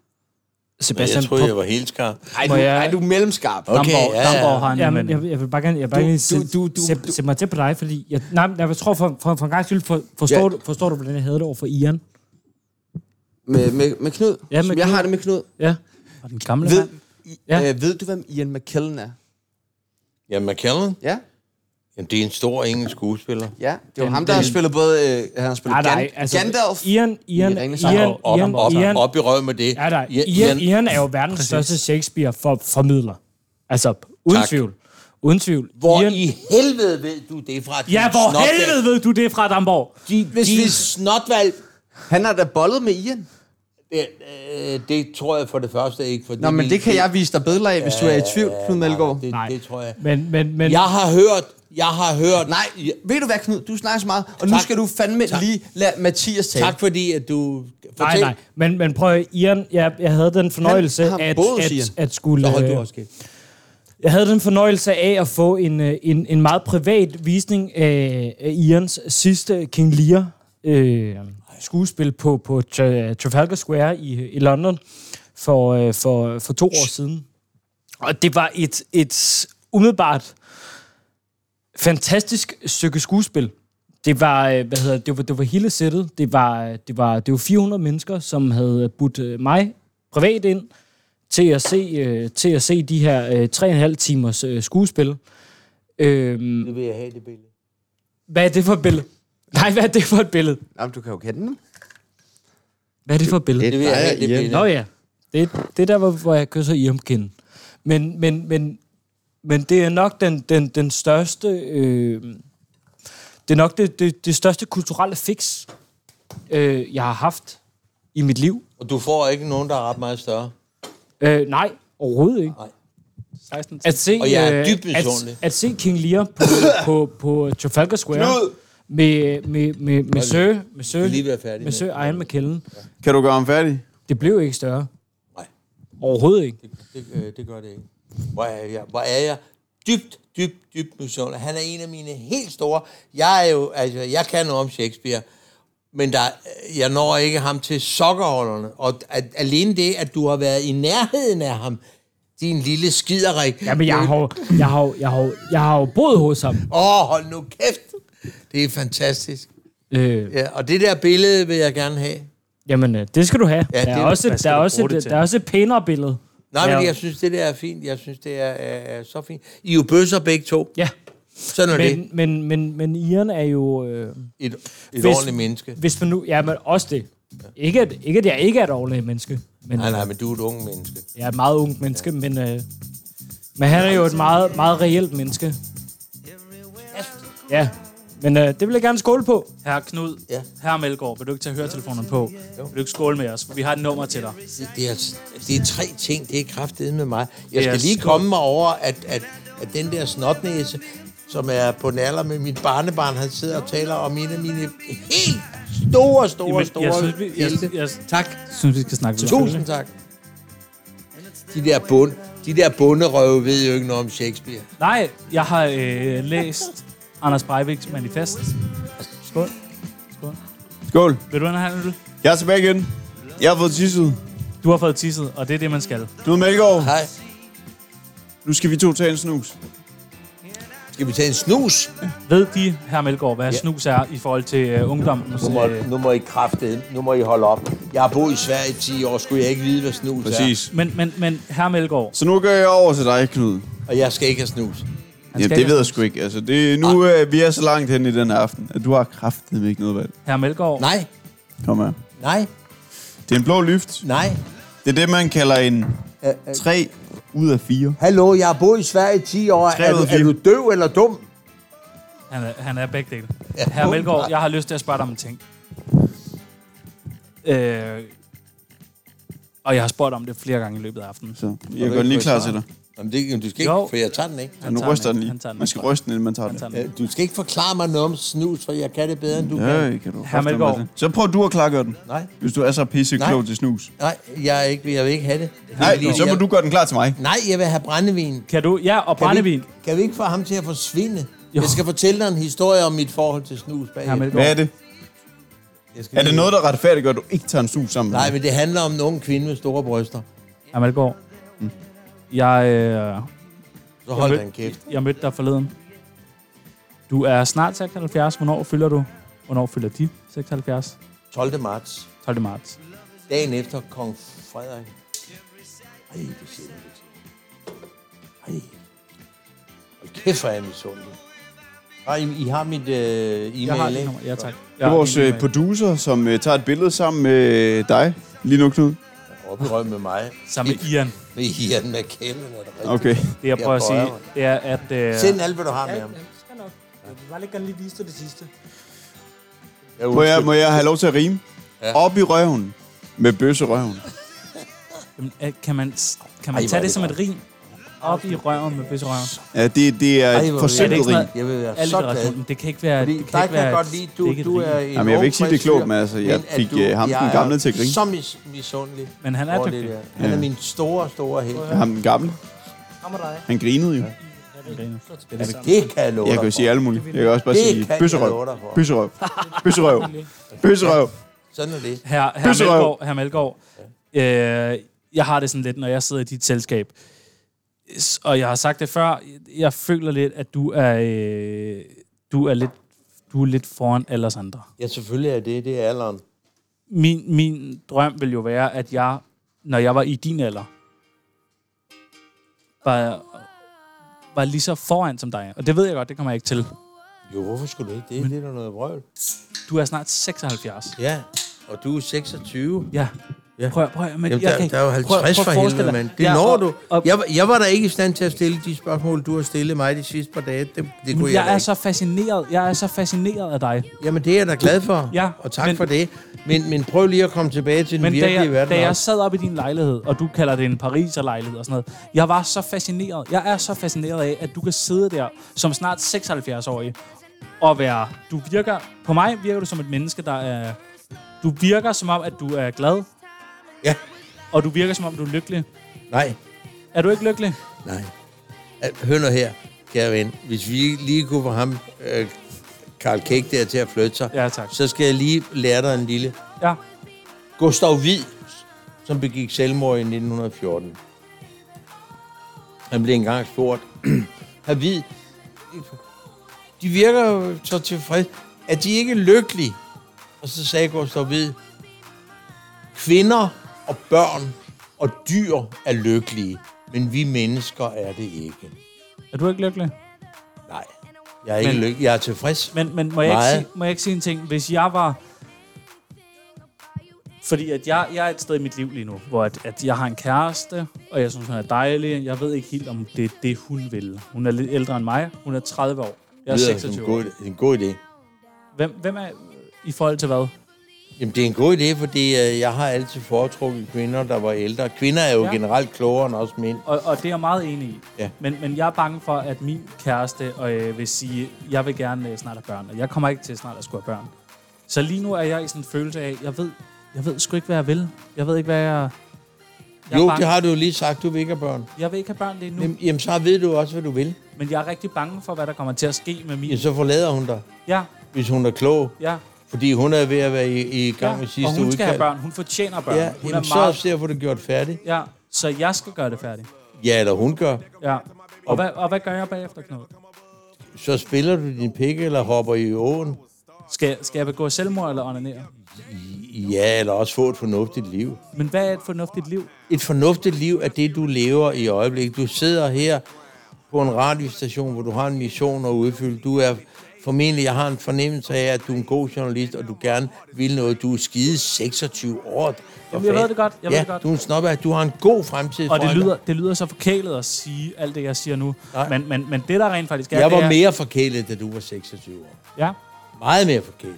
[SPEAKER 9] Sebastian, Men jeg troede, på- jeg var
[SPEAKER 4] helt skarp.
[SPEAKER 7] Ej, du,
[SPEAKER 9] Må jeg-
[SPEAKER 7] ej, du er mellemskarp.
[SPEAKER 9] Okay,
[SPEAKER 7] Damborg-
[SPEAKER 9] ja, ja.
[SPEAKER 7] Damborg har en
[SPEAKER 9] Ja, men
[SPEAKER 7] indvending.
[SPEAKER 9] jeg, jeg vil bare gerne, jeg vil bare
[SPEAKER 7] Du-
[SPEAKER 9] gerne
[SPEAKER 7] du-
[SPEAKER 9] sætte,
[SPEAKER 7] du- du-
[SPEAKER 9] sætte, sætte mig til på dig, fordi jeg, nej, men jeg tror for, for, for en gang skyld, for, forstår,
[SPEAKER 7] Ja.
[SPEAKER 9] du, forstår du, hvordan jeg havde det over for Ian?
[SPEAKER 7] Med, med, med Knud?
[SPEAKER 9] Ja,
[SPEAKER 7] Som
[SPEAKER 9] med
[SPEAKER 7] jeg
[SPEAKER 9] Knud.
[SPEAKER 7] har det med Knud.
[SPEAKER 9] Ja. Og den gamle
[SPEAKER 7] Ved,
[SPEAKER 9] mand.
[SPEAKER 7] ja. øh, ved du, hvem Ian McKellen er?
[SPEAKER 4] Ja, McKellen?
[SPEAKER 7] Ja.
[SPEAKER 4] Jamen, det er en stor engelsk skuespiller.
[SPEAKER 7] Ja, det var
[SPEAKER 4] Den-
[SPEAKER 7] ham, der har
[SPEAKER 4] den-
[SPEAKER 7] spillet både... Øh, han har spillet
[SPEAKER 9] Nej, nej,
[SPEAKER 7] Gan-
[SPEAKER 9] altså,
[SPEAKER 7] Gandalf.
[SPEAKER 9] Ian, Ian,
[SPEAKER 7] i Ringenes
[SPEAKER 9] Ian,
[SPEAKER 7] Herre.
[SPEAKER 4] Og op, op,
[SPEAKER 9] Ian-
[SPEAKER 4] op, op i røven med det.
[SPEAKER 9] Ja, nej.
[SPEAKER 4] Ian-
[SPEAKER 9] Ian,
[SPEAKER 4] Ian-
[SPEAKER 9] Ian er jo verdens
[SPEAKER 4] Præcis.
[SPEAKER 9] største Shakespeare-formidler. Altså, uden
[SPEAKER 4] Tak.
[SPEAKER 9] tvivl. Uden tvivl.
[SPEAKER 4] Hvor Ian... i helvede ved du det fra? din
[SPEAKER 9] Ja, hvor
[SPEAKER 4] snotvalg?
[SPEAKER 9] helvede ved du det fra, Damborg?
[SPEAKER 4] Din, din snotvalg.
[SPEAKER 7] Han har da bollet med Ian.
[SPEAKER 4] Det, øh, det tror jeg for det første ikke. Fordi
[SPEAKER 7] Nå, men det kan jeg vise dig bedre af, hvis du er i tvivl, Knud Melgaard.
[SPEAKER 4] Det, det tror jeg.
[SPEAKER 9] Men, men, men...
[SPEAKER 4] Jeg har hørt, jeg har hørt...
[SPEAKER 7] Nej, ved du hvad, Knud? Du snakker så meget, og nu skal du fandme lige lade Mathias tale.
[SPEAKER 4] Tak fordi, at du...
[SPEAKER 9] Nej, nej. Men, men prøv at Ian, jeg, jeg havde den fornøjelse
[SPEAKER 7] Han har
[SPEAKER 9] at,
[SPEAKER 7] boet hos
[SPEAKER 9] at,
[SPEAKER 7] Ian.
[SPEAKER 9] at, at skulle...
[SPEAKER 4] Så hold
[SPEAKER 9] øh,
[SPEAKER 4] du også kæft.
[SPEAKER 9] Jeg havde den fornøjelse af at få en, øh, en, en meget privat visning af, af Ians sidste King Lear øh, skuespil på, på Tra- Trafalgar Square i, i London for, øh, for, for to år siden. Og det var et, et umiddelbart fantastisk stykke skuespil. Det var, øh, hvad hedder, det, det var, det var hele sættet. Det var, øh, det, var, det var 400 mennesker, som havde budt øh, mig privat ind til at se, øh, til at se de her øh, 3,5 timers øh, skuespil. Øhm,
[SPEAKER 4] Det vil jeg have, det billede.
[SPEAKER 9] hvad er det for et billede? Nej, hvad er det for et billede?
[SPEAKER 7] Jamen, du kan jo kende dem.
[SPEAKER 9] Hvad er det for et billede?
[SPEAKER 4] Det vil jeg have, det billede.
[SPEAKER 9] Nå ja, det, det er der, hvor, hvor jeg kysser i omkinden. Men, men, men, men det er nok den, den, den største... Øh, det er nok det, det, det største kulturelle fix, øh, jeg har haft i mit liv.
[SPEAKER 4] Og du får ikke nogen, der er ret meget større.
[SPEAKER 9] Øh, nej, overhovedet ikke.
[SPEAKER 4] Nej.
[SPEAKER 2] 16
[SPEAKER 9] At se,
[SPEAKER 4] Og jeg er
[SPEAKER 9] øh,
[SPEAKER 4] dybt
[SPEAKER 9] at,
[SPEAKER 4] misundelig.
[SPEAKER 9] at se King Lear på, på, på Trafalgar Square
[SPEAKER 3] Knud!
[SPEAKER 9] med, med, med, med Sir, med Sir,
[SPEAKER 4] lige være færdig
[SPEAKER 9] med
[SPEAKER 4] med-
[SPEAKER 9] Sir Ian McKellen.
[SPEAKER 3] Kan du gøre ham færdig?
[SPEAKER 9] Det blev ikke større.
[SPEAKER 4] Nej.
[SPEAKER 9] Overhovedet ikke.
[SPEAKER 4] Det, øh, det gør det ikke. Hvor er jeg, hvor er jeg dybt, dybt, dybt misundelig. Han er en af mine helt store. Jeg er jo, altså, jeg kan noget om Shakespeare, men der, øh, jeg når ikke ham til sokkerholderne. Og at, alene det, at du har været i nærheden af ham, din lille skiderik.
[SPEAKER 9] Jamen, jeg har, jo- jeg har, jo- jeg har, jo- jeg har jo boet hos ham.
[SPEAKER 4] Åh, oh, hold nu kæft. Det er fantastisk.
[SPEAKER 9] Øh,
[SPEAKER 4] Ja, og det der billede vil jeg gerne have.
[SPEAKER 9] jamen, øh, det skal du have.
[SPEAKER 4] Ja,
[SPEAKER 9] der,
[SPEAKER 4] det-
[SPEAKER 9] er også,
[SPEAKER 4] hvad
[SPEAKER 9] et,
[SPEAKER 4] skal
[SPEAKER 9] der, er
[SPEAKER 4] du
[SPEAKER 9] også
[SPEAKER 4] bruge det
[SPEAKER 9] et,
[SPEAKER 4] til?
[SPEAKER 9] der er også et pænere billede.
[SPEAKER 4] Nej,
[SPEAKER 9] Ja.
[SPEAKER 4] men jeg synes, det der er fint. Jeg synes, det er, er, er så fint. I er jo bøsser begge to.
[SPEAKER 9] Ja.
[SPEAKER 4] Sådan er det.
[SPEAKER 9] Men, men, men, men Ian er jo... Øh,
[SPEAKER 4] Et, et
[SPEAKER 9] Hvis-
[SPEAKER 4] ordentligt menneske.
[SPEAKER 9] hvis man nu... Ja, men også det. Ikke at, ikke at jeg ikke er et ordentligt menneske. Men,
[SPEAKER 4] Nej, nej, men du er et ung menneske.
[SPEAKER 9] Jeg er et meget ungt menneske, men, øh, men han er jo et meget, meget reelt menneske. Ja, Men øh, det vil jeg gerne skåle på.
[SPEAKER 2] Herre Knud, ja. herre Melgaard, vil du ikke tage høretelefonerne på? Jo. Vil du ikke skåle med os, for vi har et nummer til dig.
[SPEAKER 4] Det er, det er tre ting, det er kraftedet med mig. Jeg skal
[SPEAKER 2] Yes.
[SPEAKER 4] lige komme mig over, at, at, at den der snotnæse, som er på den alder med mit barnebarn, han sidder og taler om en af mine helt store, store,
[SPEAKER 2] Jamen, jeg
[SPEAKER 4] store
[SPEAKER 2] synes, vi- jeg-
[SPEAKER 4] helte.
[SPEAKER 2] jeg-
[SPEAKER 4] tak.
[SPEAKER 2] Jeg synes, vi skal snakke videre.
[SPEAKER 4] Tusind tak. De der, bund, de der bunderøve ved jo ikke noget om Shakespeare.
[SPEAKER 2] Nej, jeg har øh, læst Anders Breiviks manifest. Skål. Skål.
[SPEAKER 3] Skål.
[SPEAKER 2] Vil du have en øl?
[SPEAKER 3] Jeg er tilbage igen. Jeg har fået tisset.
[SPEAKER 2] Du har fået tisset, og det er det, man skal.
[SPEAKER 3] Knud Melgaard.
[SPEAKER 4] Hej.
[SPEAKER 3] Nu skal vi to tage en snus.
[SPEAKER 4] Skal vi tage en snus?
[SPEAKER 2] Ved de, herre Melgaard, hvad ja.
[SPEAKER 4] Ja.
[SPEAKER 2] snus er i forhold til uh, ungdommens...
[SPEAKER 4] Nu må,
[SPEAKER 2] øh,
[SPEAKER 4] nu må I kraftede, nu må I holde op. Jeg har boet i Sverige i 10 år, skulle jeg ikke vide, hvad snus
[SPEAKER 3] Præcis.
[SPEAKER 4] er.
[SPEAKER 2] Men, men, men herre Melgaard,
[SPEAKER 3] Så nu går jeg over til dig, Knud.
[SPEAKER 4] Og jeg skal ikke have snus.
[SPEAKER 3] Ja,
[SPEAKER 2] skal
[SPEAKER 3] det
[SPEAKER 2] ikke
[SPEAKER 3] ved jeg sgu ikke. Altså, det, nu øh, vi er så langt hen i den aften, at du har kraftet ikke noget valg.
[SPEAKER 2] herre Melgaard,
[SPEAKER 4] Nej,
[SPEAKER 3] Kom her.
[SPEAKER 4] nej,
[SPEAKER 3] Det er en blå luft.
[SPEAKER 4] nej.
[SPEAKER 3] Det er det, man kalder en 3 ud af 4.
[SPEAKER 4] Hallo, jeg har boet i Sverige i 10 år.
[SPEAKER 3] Tre
[SPEAKER 4] Er
[SPEAKER 3] ud
[SPEAKER 4] du,
[SPEAKER 3] af
[SPEAKER 4] er
[SPEAKER 3] fire.
[SPEAKER 4] du døv eller dum?
[SPEAKER 2] han er, han er begge dele. Herre Melgaard, jeg har lyst til at spørge dig om en ting. Øh, og jeg har spurgt om det flere gange i løbet af aftenen.
[SPEAKER 3] Så jeg går lige klar til dig.
[SPEAKER 4] Jamen, det, du skal ikke,
[SPEAKER 2] Jo.
[SPEAKER 4] for jeg tager den ikke.
[SPEAKER 3] Så nu
[SPEAKER 2] tager
[SPEAKER 3] ryster
[SPEAKER 2] den
[SPEAKER 3] den
[SPEAKER 2] ikke. Han tager
[SPEAKER 3] lige.
[SPEAKER 2] den
[SPEAKER 3] Man skal
[SPEAKER 2] ikke.
[SPEAKER 3] ryste den, inden man tager
[SPEAKER 2] Han
[SPEAKER 3] den.
[SPEAKER 2] tager den.
[SPEAKER 4] Øh, Du skal ikke forklare mig noget om snus, for jeg kan det bedre, end du kan.
[SPEAKER 3] Ja, kan du.
[SPEAKER 2] Herre
[SPEAKER 3] kraftedeme
[SPEAKER 2] Melgaard.
[SPEAKER 3] det. Så prøv du at klargøre den.
[SPEAKER 4] Nej,
[SPEAKER 3] Hvis du er så pisse
[SPEAKER 4] Nej.
[SPEAKER 3] klog til snus.
[SPEAKER 4] nej, jeg, er ikke, jeg vil ikke have det.
[SPEAKER 3] Nej,
[SPEAKER 4] Jeg vil-
[SPEAKER 3] så må
[SPEAKER 4] jeg-
[SPEAKER 3] du gøre den klar til mig.
[SPEAKER 4] Nej, jeg vil have brændevin.
[SPEAKER 2] Kan du? Ja, og
[SPEAKER 4] Kan vi,
[SPEAKER 2] brændevin.
[SPEAKER 4] ikke- kan vi ikke få ham til at forsvinde?
[SPEAKER 2] Jo.
[SPEAKER 4] Jeg skal fortælle dig en historie om mit forhold til snus
[SPEAKER 2] Herre
[SPEAKER 4] bagefter.
[SPEAKER 2] Melgaard.
[SPEAKER 3] Hvad er det?
[SPEAKER 4] Jeg skal
[SPEAKER 3] Er det
[SPEAKER 4] lige-
[SPEAKER 3] noget, der retfærdiggør, at du ikke tager en snus sammen? med
[SPEAKER 4] Nej,
[SPEAKER 3] mig?
[SPEAKER 4] men det handler om en ung kvinde med store bryster.
[SPEAKER 2] Herre Melgaard,
[SPEAKER 3] Mm.
[SPEAKER 2] jeg, øh,
[SPEAKER 4] Så hold
[SPEAKER 2] Jeg
[SPEAKER 4] da en kæft.
[SPEAKER 2] jeg mødte dig forleden. Du er snart 76. Hvornår fylder du? Hvornår fylder de 76?
[SPEAKER 4] 12. marts.
[SPEAKER 2] 12. marts.
[SPEAKER 4] Dagen efter kong Frederik. Ej, det siger jeg ikke. Ej. Hold kæft, hvor er jeg misundelig. Ej, I har mit øh, e-mail,
[SPEAKER 2] Jeg har
[SPEAKER 4] ikke?
[SPEAKER 2] det nummer. Ja, tak.
[SPEAKER 3] Det er vores øh, producer, som øh, tager et billede sammen med øh, dig lige nu, Knud.
[SPEAKER 4] Oprøv med mig.
[SPEAKER 2] Sammen med Ian.
[SPEAKER 4] Med Ian McKellen, er det rigtigt?
[SPEAKER 3] Okay.
[SPEAKER 2] Det jeg prøver at sige,
[SPEAKER 4] bøjer mig.
[SPEAKER 2] det er, at... Øh,
[SPEAKER 4] Send alt, hvad du har med ham.
[SPEAKER 9] Jeg vil bare lige gerne lige vise dig det sidste.
[SPEAKER 4] Jeg
[SPEAKER 3] Må jeg,
[SPEAKER 4] undskyld.
[SPEAKER 3] må jeg have lov til at rime? Ja. Op i røven. Med bøsserøven.
[SPEAKER 2] jamen, øh, kan man, kan
[SPEAKER 4] Ej,
[SPEAKER 2] man
[SPEAKER 4] hvor
[SPEAKER 2] tage
[SPEAKER 4] er
[SPEAKER 2] det
[SPEAKER 4] det
[SPEAKER 2] som et rim? Op i røven med bøsserøven.
[SPEAKER 3] Ja, det, det er
[SPEAKER 4] Ej, hvor
[SPEAKER 3] et
[SPEAKER 4] er
[SPEAKER 2] Er det
[SPEAKER 3] forsimplet
[SPEAKER 2] ikke
[SPEAKER 3] rim.
[SPEAKER 2] sådan
[SPEAKER 4] Jeg vil være
[SPEAKER 2] noget?
[SPEAKER 4] så glad.
[SPEAKER 2] Alliteration. Men Det kan ikke være...
[SPEAKER 4] Fordi
[SPEAKER 2] det
[SPEAKER 4] dig kan jeg
[SPEAKER 2] være
[SPEAKER 4] godt
[SPEAKER 2] et-
[SPEAKER 4] lide,
[SPEAKER 2] det
[SPEAKER 4] du,
[SPEAKER 2] ikke et
[SPEAKER 4] du
[SPEAKER 2] rim.
[SPEAKER 4] er en
[SPEAKER 3] Jamen, jeg vil ikke sige, det er
[SPEAKER 4] ung
[SPEAKER 3] klogt,
[SPEAKER 4] frisør,
[SPEAKER 3] men altså, jeg
[SPEAKER 4] men at
[SPEAKER 3] fik,
[SPEAKER 4] du-
[SPEAKER 3] øh, ham,
[SPEAKER 4] jeg
[SPEAKER 3] den
[SPEAKER 4] er
[SPEAKER 3] gamle, til at grine.
[SPEAKER 4] Så mis, misundelig.
[SPEAKER 2] Men han er
[SPEAKER 4] over det
[SPEAKER 2] dygtig.
[SPEAKER 4] der. Han er min store, store helt.
[SPEAKER 3] Ham den gamle. Han grinede jo.
[SPEAKER 4] Det kan jeg love
[SPEAKER 3] Jeg kan jo
[SPEAKER 4] dig
[SPEAKER 3] sige
[SPEAKER 4] for.
[SPEAKER 3] alt muligt. Jeg kan også bare
[SPEAKER 4] Det
[SPEAKER 3] sige
[SPEAKER 4] kan jeg love dig
[SPEAKER 3] bøsserøv.
[SPEAKER 4] for.
[SPEAKER 3] Bøsserøv. Bøsserøv. Bøsserøv.
[SPEAKER 4] Sådan er det.
[SPEAKER 2] Herre, herre
[SPEAKER 3] Bøsserøv.
[SPEAKER 2] Melgaard, herre Melgaard øh, jeg har det sådan lidt, når jeg sidder i dit selskab, S- og jeg har sagt det før, jeg føler lidt, at du er, øh, du er, lidt, du er lidt foran alle os andre.
[SPEAKER 4] Ja, selvfølgelig er det. Det er alderen.
[SPEAKER 2] Min, min drøm vil jo være, at jeg, når jeg var i din alder, var, var lige så foran som dig. Og det ved jeg godt, det kommer jeg ikke til.
[SPEAKER 4] Jo, hvorfor skulle du ikke det? Det er da noget vrøvl.
[SPEAKER 2] Du er snart 76.
[SPEAKER 4] Ja, og du er 26.
[SPEAKER 2] Ja. ja. Prøv, at- prøv, at- men
[SPEAKER 4] Jamen,
[SPEAKER 2] jeg
[SPEAKER 4] der,
[SPEAKER 2] kan ikke-
[SPEAKER 4] der er jo
[SPEAKER 2] prøv at- prøv at
[SPEAKER 4] 50 for
[SPEAKER 2] forestille
[SPEAKER 4] helvede,
[SPEAKER 2] dig-
[SPEAKER 4] mand. Det
[SPEAKER 2] Ja,
[SPEAKER 4] når
[SPEAKER 2] og-
[SPEAKER 4] du.
[SPEAKER 2] og-
[SPEAKER 4] Jeg, var- jeg var da ikke i stand til at stille de spørgsmål, du har stillet mig de sidste par dage. Det, det kunne jeg,
[SPEAKER 2] jeg
[SPEAKER 4] da
[SPEAKER 2] er
[SPEAKER 4] ikke.
[SPEAKER 2] så fascineret. Jeg er så fascineret af dig.
[SPEAKER 4] Jamen, det er jeg da glad for,
[SPEAKER 2] Ja,
[SPEAKER 4] og tak
[SPEAKER 2] men-
[SPEAKER 4] men, for det. Men, men prøv lige at komme tilbage til den
[SPEAKER 2] Men da
[SPEAKER 4] virkelige
[SPEAKER 2] jeg,
[SPEAKER 4] verden.
[SPEAKER 2] da jeg
[SPEAKER 4] også.
[SPEAKER 2] sad op i din lejlighed, og du kalder det en pariserlejlighed og sådan noget, jeg var så fascineret. Jeg er så fascineret af, at du kan sidde der som snart 76-årig og være... Du virker... På mig virker du som et menneske, der er... Du virker som om, at du er glad,
[SPEAKER 4] Ja,
[SPEAKER 2] og du virker som om, du er lykkelig.
[SPEAKER 4] nej,
[SPEAKER 2] Er du ikke lykkelig?
[SPEAKER 4] nej. Al- Hør nu her, kære ven. Hvis vi lige kunne få ham, øh, Karl Kæk, der til at flytte sig,
[SPEAKER 2] Ja, tak.
[SPEAKER 4] så skal jeg lige lære dig en lille
[SPEAKER 2] Ja.
[SPEAKER 4] Gustav Hvid, som begik selvmord i 1914. Han blev engang spurgt, Herr Hvid, de virker jo så tilfredse. Er de ikke lykkelige? Og så sagde Gustav Hvid, kvinder og børn og dyr er lykkelige, men vi mennesker er det ikke.
[SPEAKER 2] Er du ikke lykkelig?
[SPEAKER 4] Nej, jeg er ikke
[SPEAKER 2] Men-
[SPEAKER 4] lykkelig. Jeg er tilfreds.
[SPEAKER 2] Men, men må, jeg ikke
[SPEAKER 4] Meget.
[SPEAKER 2] sige, må jeg ikke sige en ting? Hvis jeg var... Fordi at jeg, jeg er et sted i mit liv lige nu, hvor at, at jeg har en kæreste, og jeg synes, hun er dejlig. Jeg ved ikke helt, om det er det, hun vil. Hun er lidt ældre end mig. Hun er 30 år. Jeg er
[SPEAKER 4] Det lyder som en
[SPEAKER 2] 26 år.
[SPEAKER 4] god, en god idé.
[SPEAKER 9] Hvem, hvem er i forhold til hvad?
[SPEAKER 4] Jamen, det er en god idé, fordi øh, jeg har altid foretrukket kvinder, der var ældre. Kvinder er jo
[SPEAKER 9] Ja.
[SPEAKER 4] ja. generelt klogere end os mænd.
[SPEAKER 9] Og, og det er jeg meget enig i.
[SPEAKER 4] Ja.
[SPEAKER 9] Men, men jeg er bange for, at min kæreste øh, vil sige, jeg vil gerne øh, snart have børn, og jeg kommer ikke til snart at skulle have børn. Så lige nu er jeg i sådan en følelse af, jeg ved, jeg ved sgu ikke, hvad jeg vil. Jeg ved ikke, hvad jeg... jeg er
[SPEAKER 4] Jo,
[SPEAKER 9] bange-
[SPEAKER 4] det har du jo lige sagt, du vil ikke have børn.
[SPEAKER 9] Jeg vil ikke have børn lige nu,
[SPEAKER 4] Jamen, jamen, så ved du også, hvad du vil.
[SPEAKER 9] men jeg er rigtig bange for, hvad der kommer til at ske med min...
[SPEAKER 4] Ja, så forlader hun dig,
[SPEAKER 9] Ja,
[SPEAKER 4] hvis hun er klog.
[SPEAKER 9] ja.
[SPEAKER 4] Fordi hun er ved at være i, i gang
[SPEAKER 9] ja.
[SPEAKER 4] med sidste
[SPEAKER 9] og hun skal have
[SPEAKER 4] udkald.
[SPEAKER 9] børn. Hun fortjener børn.
[SPEAKER 4] Ja,
[SPEAKER 9] hun
[SPEAKER 4] hun jamen,
[SPEAKER 9] er
[SPEAKER 4] så
[SPEAKER 9] meget...
[SPEAKER 4] ser at få det gjort færdigt.
[SPEAKER 9] Ja, så jeg skal gøre det færdigt.
[SPEAKER 4] Ja, eller hun gør.
[SPEAKER 9] Ja. Og hvad, og hvad gør jeg bagefter, Knud?
[SPEAKER 4] Så spiller du din pikke, eller hopper i åen.
[SPEAKER 9] Skal, skal jeg begå selvmord eller onanere?
[SPEAKER 4] Ja, eller også få et fornuftigt liv.
[SPEAKER 9] Men hvad er et fornuftigt liv?
[SPEAKER 4] Et fornuftigt liv er det, du lever i øjeblikket. Du sidder her på en radiostation, hvor du har en mission at udfylde. Du er formentlig, jeg har en fornemmelse af, at du er en god journalist, og du gerne vil noget. Du er skide 26 år.
[SPEAKER 9] Jamen, jeg ved det godt, jeg
[SPEAKER 4] ja,
[SPEAKER 9] ved det godt.
[SPEAKER 4] du er en snobber. Du har en god fremtid
[SPEAKER 9] Og det
[SPEAKER 4] foran
[SPEAKER 9] lyder, det lyder så forkælet at sige alt det, jeg siger nu.
[SPEAKER 4] Nej.
[SPEAKER 9] Men, men, men det, der rent faktisk er...
[SPEAKER 4] dig. Jeg
[SPEAKER 9] det er,
[SPEAKER 4] var mere forkælet, da du var 26 år.
[SPEAKER 9] Ja,
[SPEAKER 4] Meget mere forkælet.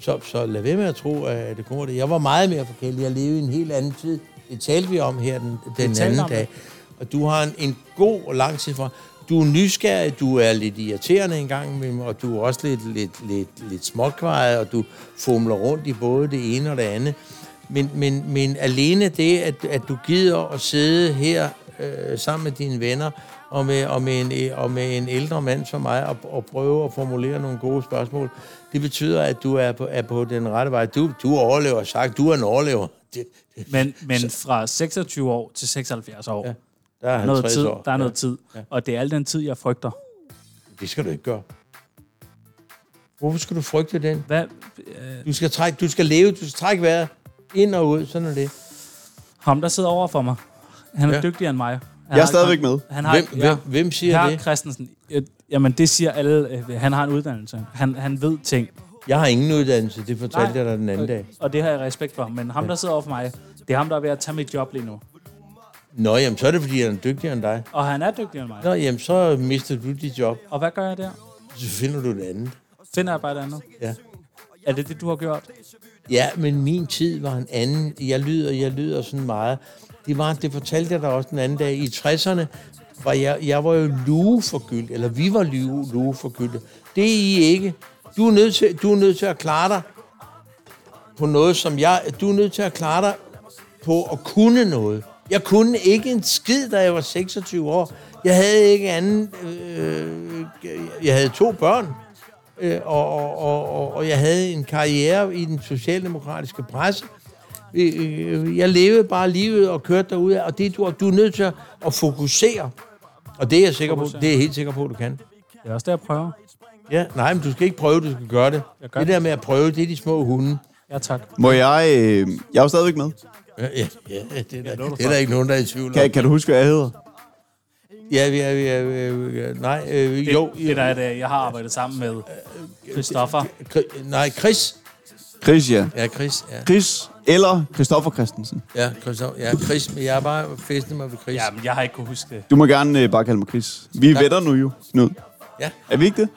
[SPEAKER 4] Så, så lad være med at tro, at det kommer det. Jeg var meget mere forkælet. Jeg levede i en helt anden tid. Det talte vi om her den, den
[SPEAKER 9] talte
[SPEAKER 4] anden
[SPEAKER 9] om det.
[SPEAKER 4] dag. Og du har en, en god og lang tid fra. Du er nysgerrig, du er lidt irriterende en gang imellem, og du er også lidt, lidt, lidt, lidt småkvejet, og du fumler rundt i både det ene og det andet. Men, men, men alene det, at, at du gider at sidde her øh, sammen med dine venner og med, og, med en, og med en ældre mand som mig og, og prøve at formulere nogle gode spørgsmål, det betyder, at du er på, er på den rette vej. Du, du er overlever, sagt. Du er en overlever. Det, det,
[SPEAKER 9] men, men fra 26 år til 76 år, ja,
[SPEAKER 4] der er
[SPEAKER 9] der er noget
[SPEAKER 4] 50
[SPEAKER 9] tid,
[SPEAKER 4] år.
[SPEAKER 9] der er noget tid. Og det er al den tid, jeg frygter.
[SPEAKER 4] Det skal du ikke gøre. Hvorfor skal du frygte den?
[SPEAKER 9] Hvad,
[SPEAKER 4] Du skal, trække, du skal leve, du skal trække vejret ind og ud, sådan er det.
[SPEAKER 9] ham, der sidder over for mig, han er
[SPEAKER 4] Ja.
[SPEAKER 9] ja. dygtigere end mig. Han
[SPEAKER 3] Jeg er
[SPEAKER 9] har-
[SPEAKER 3] stadigvæk med.
[SPEAKER 9] Han har,
[SPEAKER 4] Hvem,
[SPEAKER 9] ja,
[SPEAKER 4] hvem, hvem siger
[SPEAKER 9] Herre
[SPEAKER 4] det?
[SPEAKER 9] Christensen, øh, jamen det siger alle, øh, han har en uddannelse. Han, han ved ting.
[SPEAKER 4] Jeg har ingen uddannelse, det fortalte
[SPEAKER 9] Nej.
[SPEAKER 4] jeg dig den anden
[SPEAKER 9] Og,
[SPEAKER 4] dag.
[SPEAKER 9] og det har jeg respekt for. Men ham, der sidder over for mig, det er ham, der er ved at tage mit job lige nu.
[SPEAKER 4] Nå, jamen, så er det, fordi han er dygtigere end dig.
[SPEAKER 9] Og han er dygtigere end mig.
[SPEAKER 4] Nå, jamen, så mister du dit job.
[SPEAKER 9] Og hvad gør jeg der?
[SPEAKER 4] Så finder du et andet.
[SPEAKER 9] Finder jeg bare et andet?
[SPEAKER 4] Ja.
[SPEAKER 9] Er det det, du har gjort?
[SPEAKER 4] Ja, men min tid var en anden. Jeg lyder, jeg lyder sådan meget. Det, var, det fortalte jeg dig også den anden dag. I 60'erne var jeg, jeg var jo lueforgyldt, eller vi var lue, lueforgyldte. Det er I ikke. Du er, nødt til, du er nødt til at klare dig på noget, som jeg... Du er nødt til at klare dig på at kunne noget. Jeg kunne ikke en skid, da jeg var 26 år. Jeg havde ikke anden... Øh, jeg havde to børn øh, og, og, og, og, og jeg havde en karriere i den socialdemokratiske presse. Øh, øh, Jeg levede bare livet og kørte derude, og det, du, du er nødt til at- at fokusere. Og det er jeg sikker på, det er jeg helt sikker på, at du kan.
[SPEAKER 9] Det er også det, jeg prøver.
[SPEAKER 4] Ja, nej, men du skal ikke prøve, du skal gøre det.
[SPEAKER 9] gør
[SPEAKER 4] det der med at prøve, det er de små hunde.
[SPEAKER 9] Ja, tak.
[SPEAKER 3] Må jeg... Øh, jeg er jo stadigvæk med.
[SPEAKER 4] Ja, ja, ja det, er der, det er der ikke nogen, der er i tvivl om.
[SPEAKER 3] Kan, kan du huske, hvad jeg hedder?
[SPEAKER 4] Ja, ja, ja, ja, ja, nej, øh,
[SPEAKER 9] Det,
[SPEAKER 4] jo.
[SPEAKER 9] det der er det, jeg har arbejdet sammen med Christoffer.
[SPEAKER 4] Kri- Nej, Chris.
[SPEAKER 3] Christian.
[SPEAKER 4] Ja, Chris, ja.
[SPEAKER 3] Chris eller Christoffer Christensen.
[SPEAKER 4] Ja, Chris, ja, Chris men jeg er bare festet mig ved Chris. Ja,
[SPEAKER 9] Jamen, jeg har ikke kunne huske det.
[SPEAKER 3] Du må gerne øh, bare kalde mig Chris. Vi er ja. venner nu jo, Knud.
[SPEAKER 4] Ja.
[SPEAKER 3] Er vi ikke det?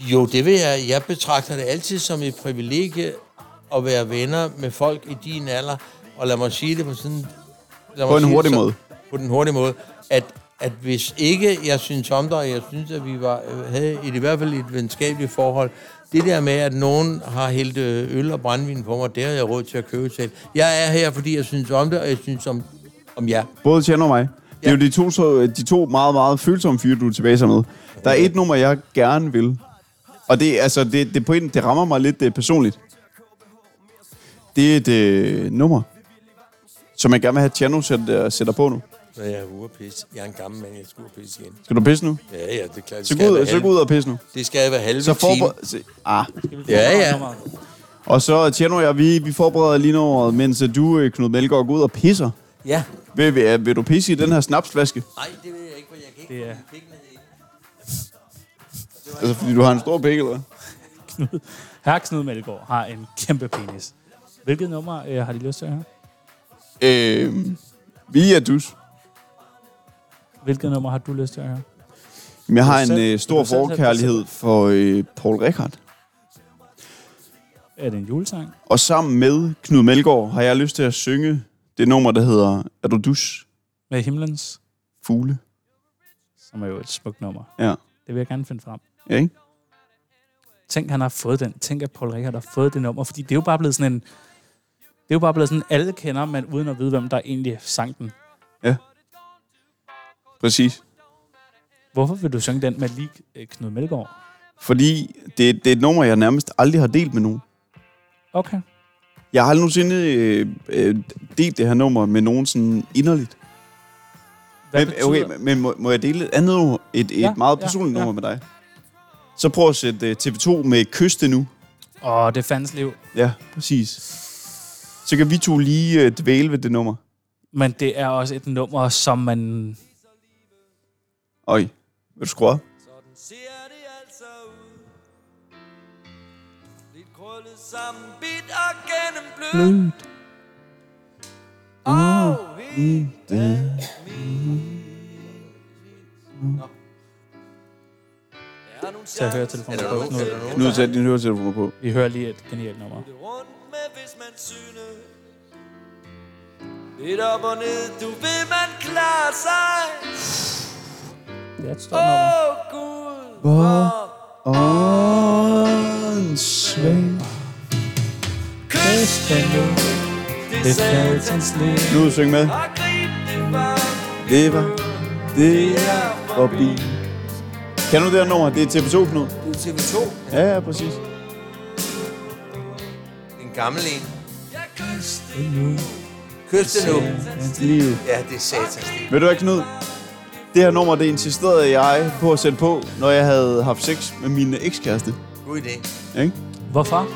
[SPEAKER 4] Jo, det vil jeg. Jeg betragter det altid som et privilegie at være venner med folk i din alder. Og lad mig sige det på sådan... Lad mig
[SPEAKER 3] På en
[SPEAKER 4] sige det
[SPEAKER 3] hurtig
[SPEAKER 4] så-
[SPEAKER 3] måde.
[SPEAKER 4] På den hurtige måde. At, at hvis ikke jeg synes om dig, og jeg synes, at vi var, øh, havde et, i hvert fald et venskabeligt forhold, det der med, at nogen har hældt øh, øl og brændvin på mig, det har jeg råd til at købe selv. Jeg er her, fordi jeg synes om det, og jeg synes om, om jer.
[SPEAKER 3] Både Tjerno og mig. Det er jo de to, så, øh, de to meget, meget følsomme fyre, du er tilbage sammen med. Der er et nummer, jeg gerne vil. Og det, er- altså, det, det, på en, det rammer mig lidt øh, personligt. Det er et øh, nummer, som jeg gerne vil have Tjerno sætter, sætter på nu.
[SPEAKER 4] Så jeg er ude at pisse. Jeg er en gammel mand, jeg skal ud og pisse igen.
[SPEAKER 3] Skal du pisse nu?
[SPEAKER 4] Ja, ja, det er klart. det
[SPEAKER 3] Så gå
[SPEAKER 4] skal jeg
[SPEAKER 3] ud,
[SPEAKER 4] være
[SPEAKER 3] så gå
[SPEAKER 4] halv-
[SPEAKER 3] ud og pisse nu.
[SPEAKER 4] Det skal jeg være halve
[SPEAKER 3] Så
[SPEAKER 4] time.
[SPEAKER 3] forber... Se, ah.
[SPEAKER 4] Ja, ja.
[SPEAKER 3] Og så Tjerno og jeg, vi, vi forbereder lige noget, mens øh, du, øh, Knud Melgaard, går ud og pisser.
[SPEAKER 4] Ja.
[SPEAKER 3] Vil, øh, vil, vil du pisse i den her snapsflaske?
[SPEAKER 4] Nej, det ved jeg ikke, for jeg kan ikke
[SPEAKER 9] Det er-
[SPEAKER 4] komme pikken ned i.
[SPEAKER 3] Altså, fordi du har en stor pik, eller hvad?
[SPEAKER 9] Herre Knud Melgaard har en kæmpe penis. Hvilket nummer øh, har de lyst til at høre?
[SPEAKER 3] Øh, vi er dus.
[SPEAKER 9] Hvilket nummer har du lyst til at høre?
[SPEAKER 3] Men jeg har
[SPEAKER 2] Vil du
[SPEAKER 3] en
[SPEAKER 2] selv-
[SPEAKER 3] øh, stor
[SPEAKER 2] vil du selv have-
[SPEAKER 3] forkærlighed for øh, Paul Rickard.
[SPEAKER 2] Er det en julesang?
[SPEAKER 3] Og sammen med Knud Melgaard har jeg lyst til at synge det nummer, der hedder Er du dus?
[SPEAKER 2] Med himlens
[SPEAKER 3] Fugle.
[SPEAKER 2] som er jo et smukt nummer.
[SPEAKER 3] Ja.
[SPEAKER 2] Det vil jeg gerne finde frem.
[SPEAKER 3] Ja, ikke?
[SPEAKER 2] Tænk, han har fået den. Tænk, at Paul Rickard har fået det nummer. Fordi det er jo bare blevet sådan en... Det er jo bare blevet sådan, alle kender, men uden at vide, hvem der egentlig sang den.
[SPEAKER 3] Præcis.
[SPEAKER 2] Hvorfor vil du synge den med lige øh, Knud Melgaard?
[SPEAKER 3] Fordi det, det er et nummer, jeg nærmest aldrig har delt med nogen.
[SPEAKER 2] Okay.
[SPEAKER 3] Jeg har aldrig nogensinde øh, øh, delt det her nummer med nogen sådan inderligt.
[SPEAKER 2] Hvad
[SPEAKER 3] men,
[SPEAKER 2] betyder-
[SPEAKER 3] okay, men må, må jeg dele et andet nummer? Et, et
[SPEAKER 2] Ja,
[SPEAKER 3] ja, meget
[SPEAKER 2] ja,
[SPEAKER 3] personligt
[SPEAKER 2] ja.
[SPEAKER 3] ja, nummer med dig? Så prøv at sætte øh, TV2 med Kyste nu.
[SPEAKER 2] Åh, det er fandens liv.
[SPEAKER 3] Ja, præcis. Så kan vi to lige øh, dvæle ved det nummer.
[SPEAKER 2] Men det er også et nummer, som man...
[SPEAKER 3] Øj, vil du skrue op?
[SPEAKER 11] Krøllet sammen, bit og gennem blød.
[SPEAKER 3] Blødt.
[SPEAKER 11] Åh,
[SPEAKER 3] i
[SPEAKER 11] det
[SPEAKER 2] Så jeg hører telefonen
[SPEAKER 11] Er der
[SPEAKER 2] på
[SPEAKER 11] nogen- er der
[SPEAKER 2] Knud.
[SPEAKER 11] nogen,
[SPEAKER 3] Knud, sæt dine høretelefoner på.
[SPEAKER 2] Vi hører lige et genialt nummer.
[SPEAKER 11] Lidt op og ned, du ved, man klarer sig.
[SPEAKER 2] Det er et stort nummer.
[SPEAKER 11] Åh, Gud,
[SPEAKER 3] Hvor åndssvagt.
[SPEAKER 2] Kysten nu, det satans liv.
[SPEAKER 3] Knud, syng med.
[SPEAKER 11] og grib det varmt.
[SPEAKER 3] Det var det er forbi. Kan du det her nummer? Det er TV2, Knud.
[SPEAKER 4] Det er TV2.
[SPEAKER 3] Ja, ja, præcis.
[SPEAKER 4] En gammel en.
[SPEAKER 11] Kysten
[SPEAKER 2] nu.
[SPEAKER 4] Kysten nu.
[SPEAKER 3] Liv.
[SPEAKER 4] Ja, det er satans liv.
[SPEAKER 3] Ved du hvad, Knud? Det her nummer, det insisterede jeg på at sætte på, når jeg havde haft sex med min ekskæreste.
[SPEAKER 4] God idé.
[SPEAKER 3] Ikke?
[SPEAKER 2] Hvorfor?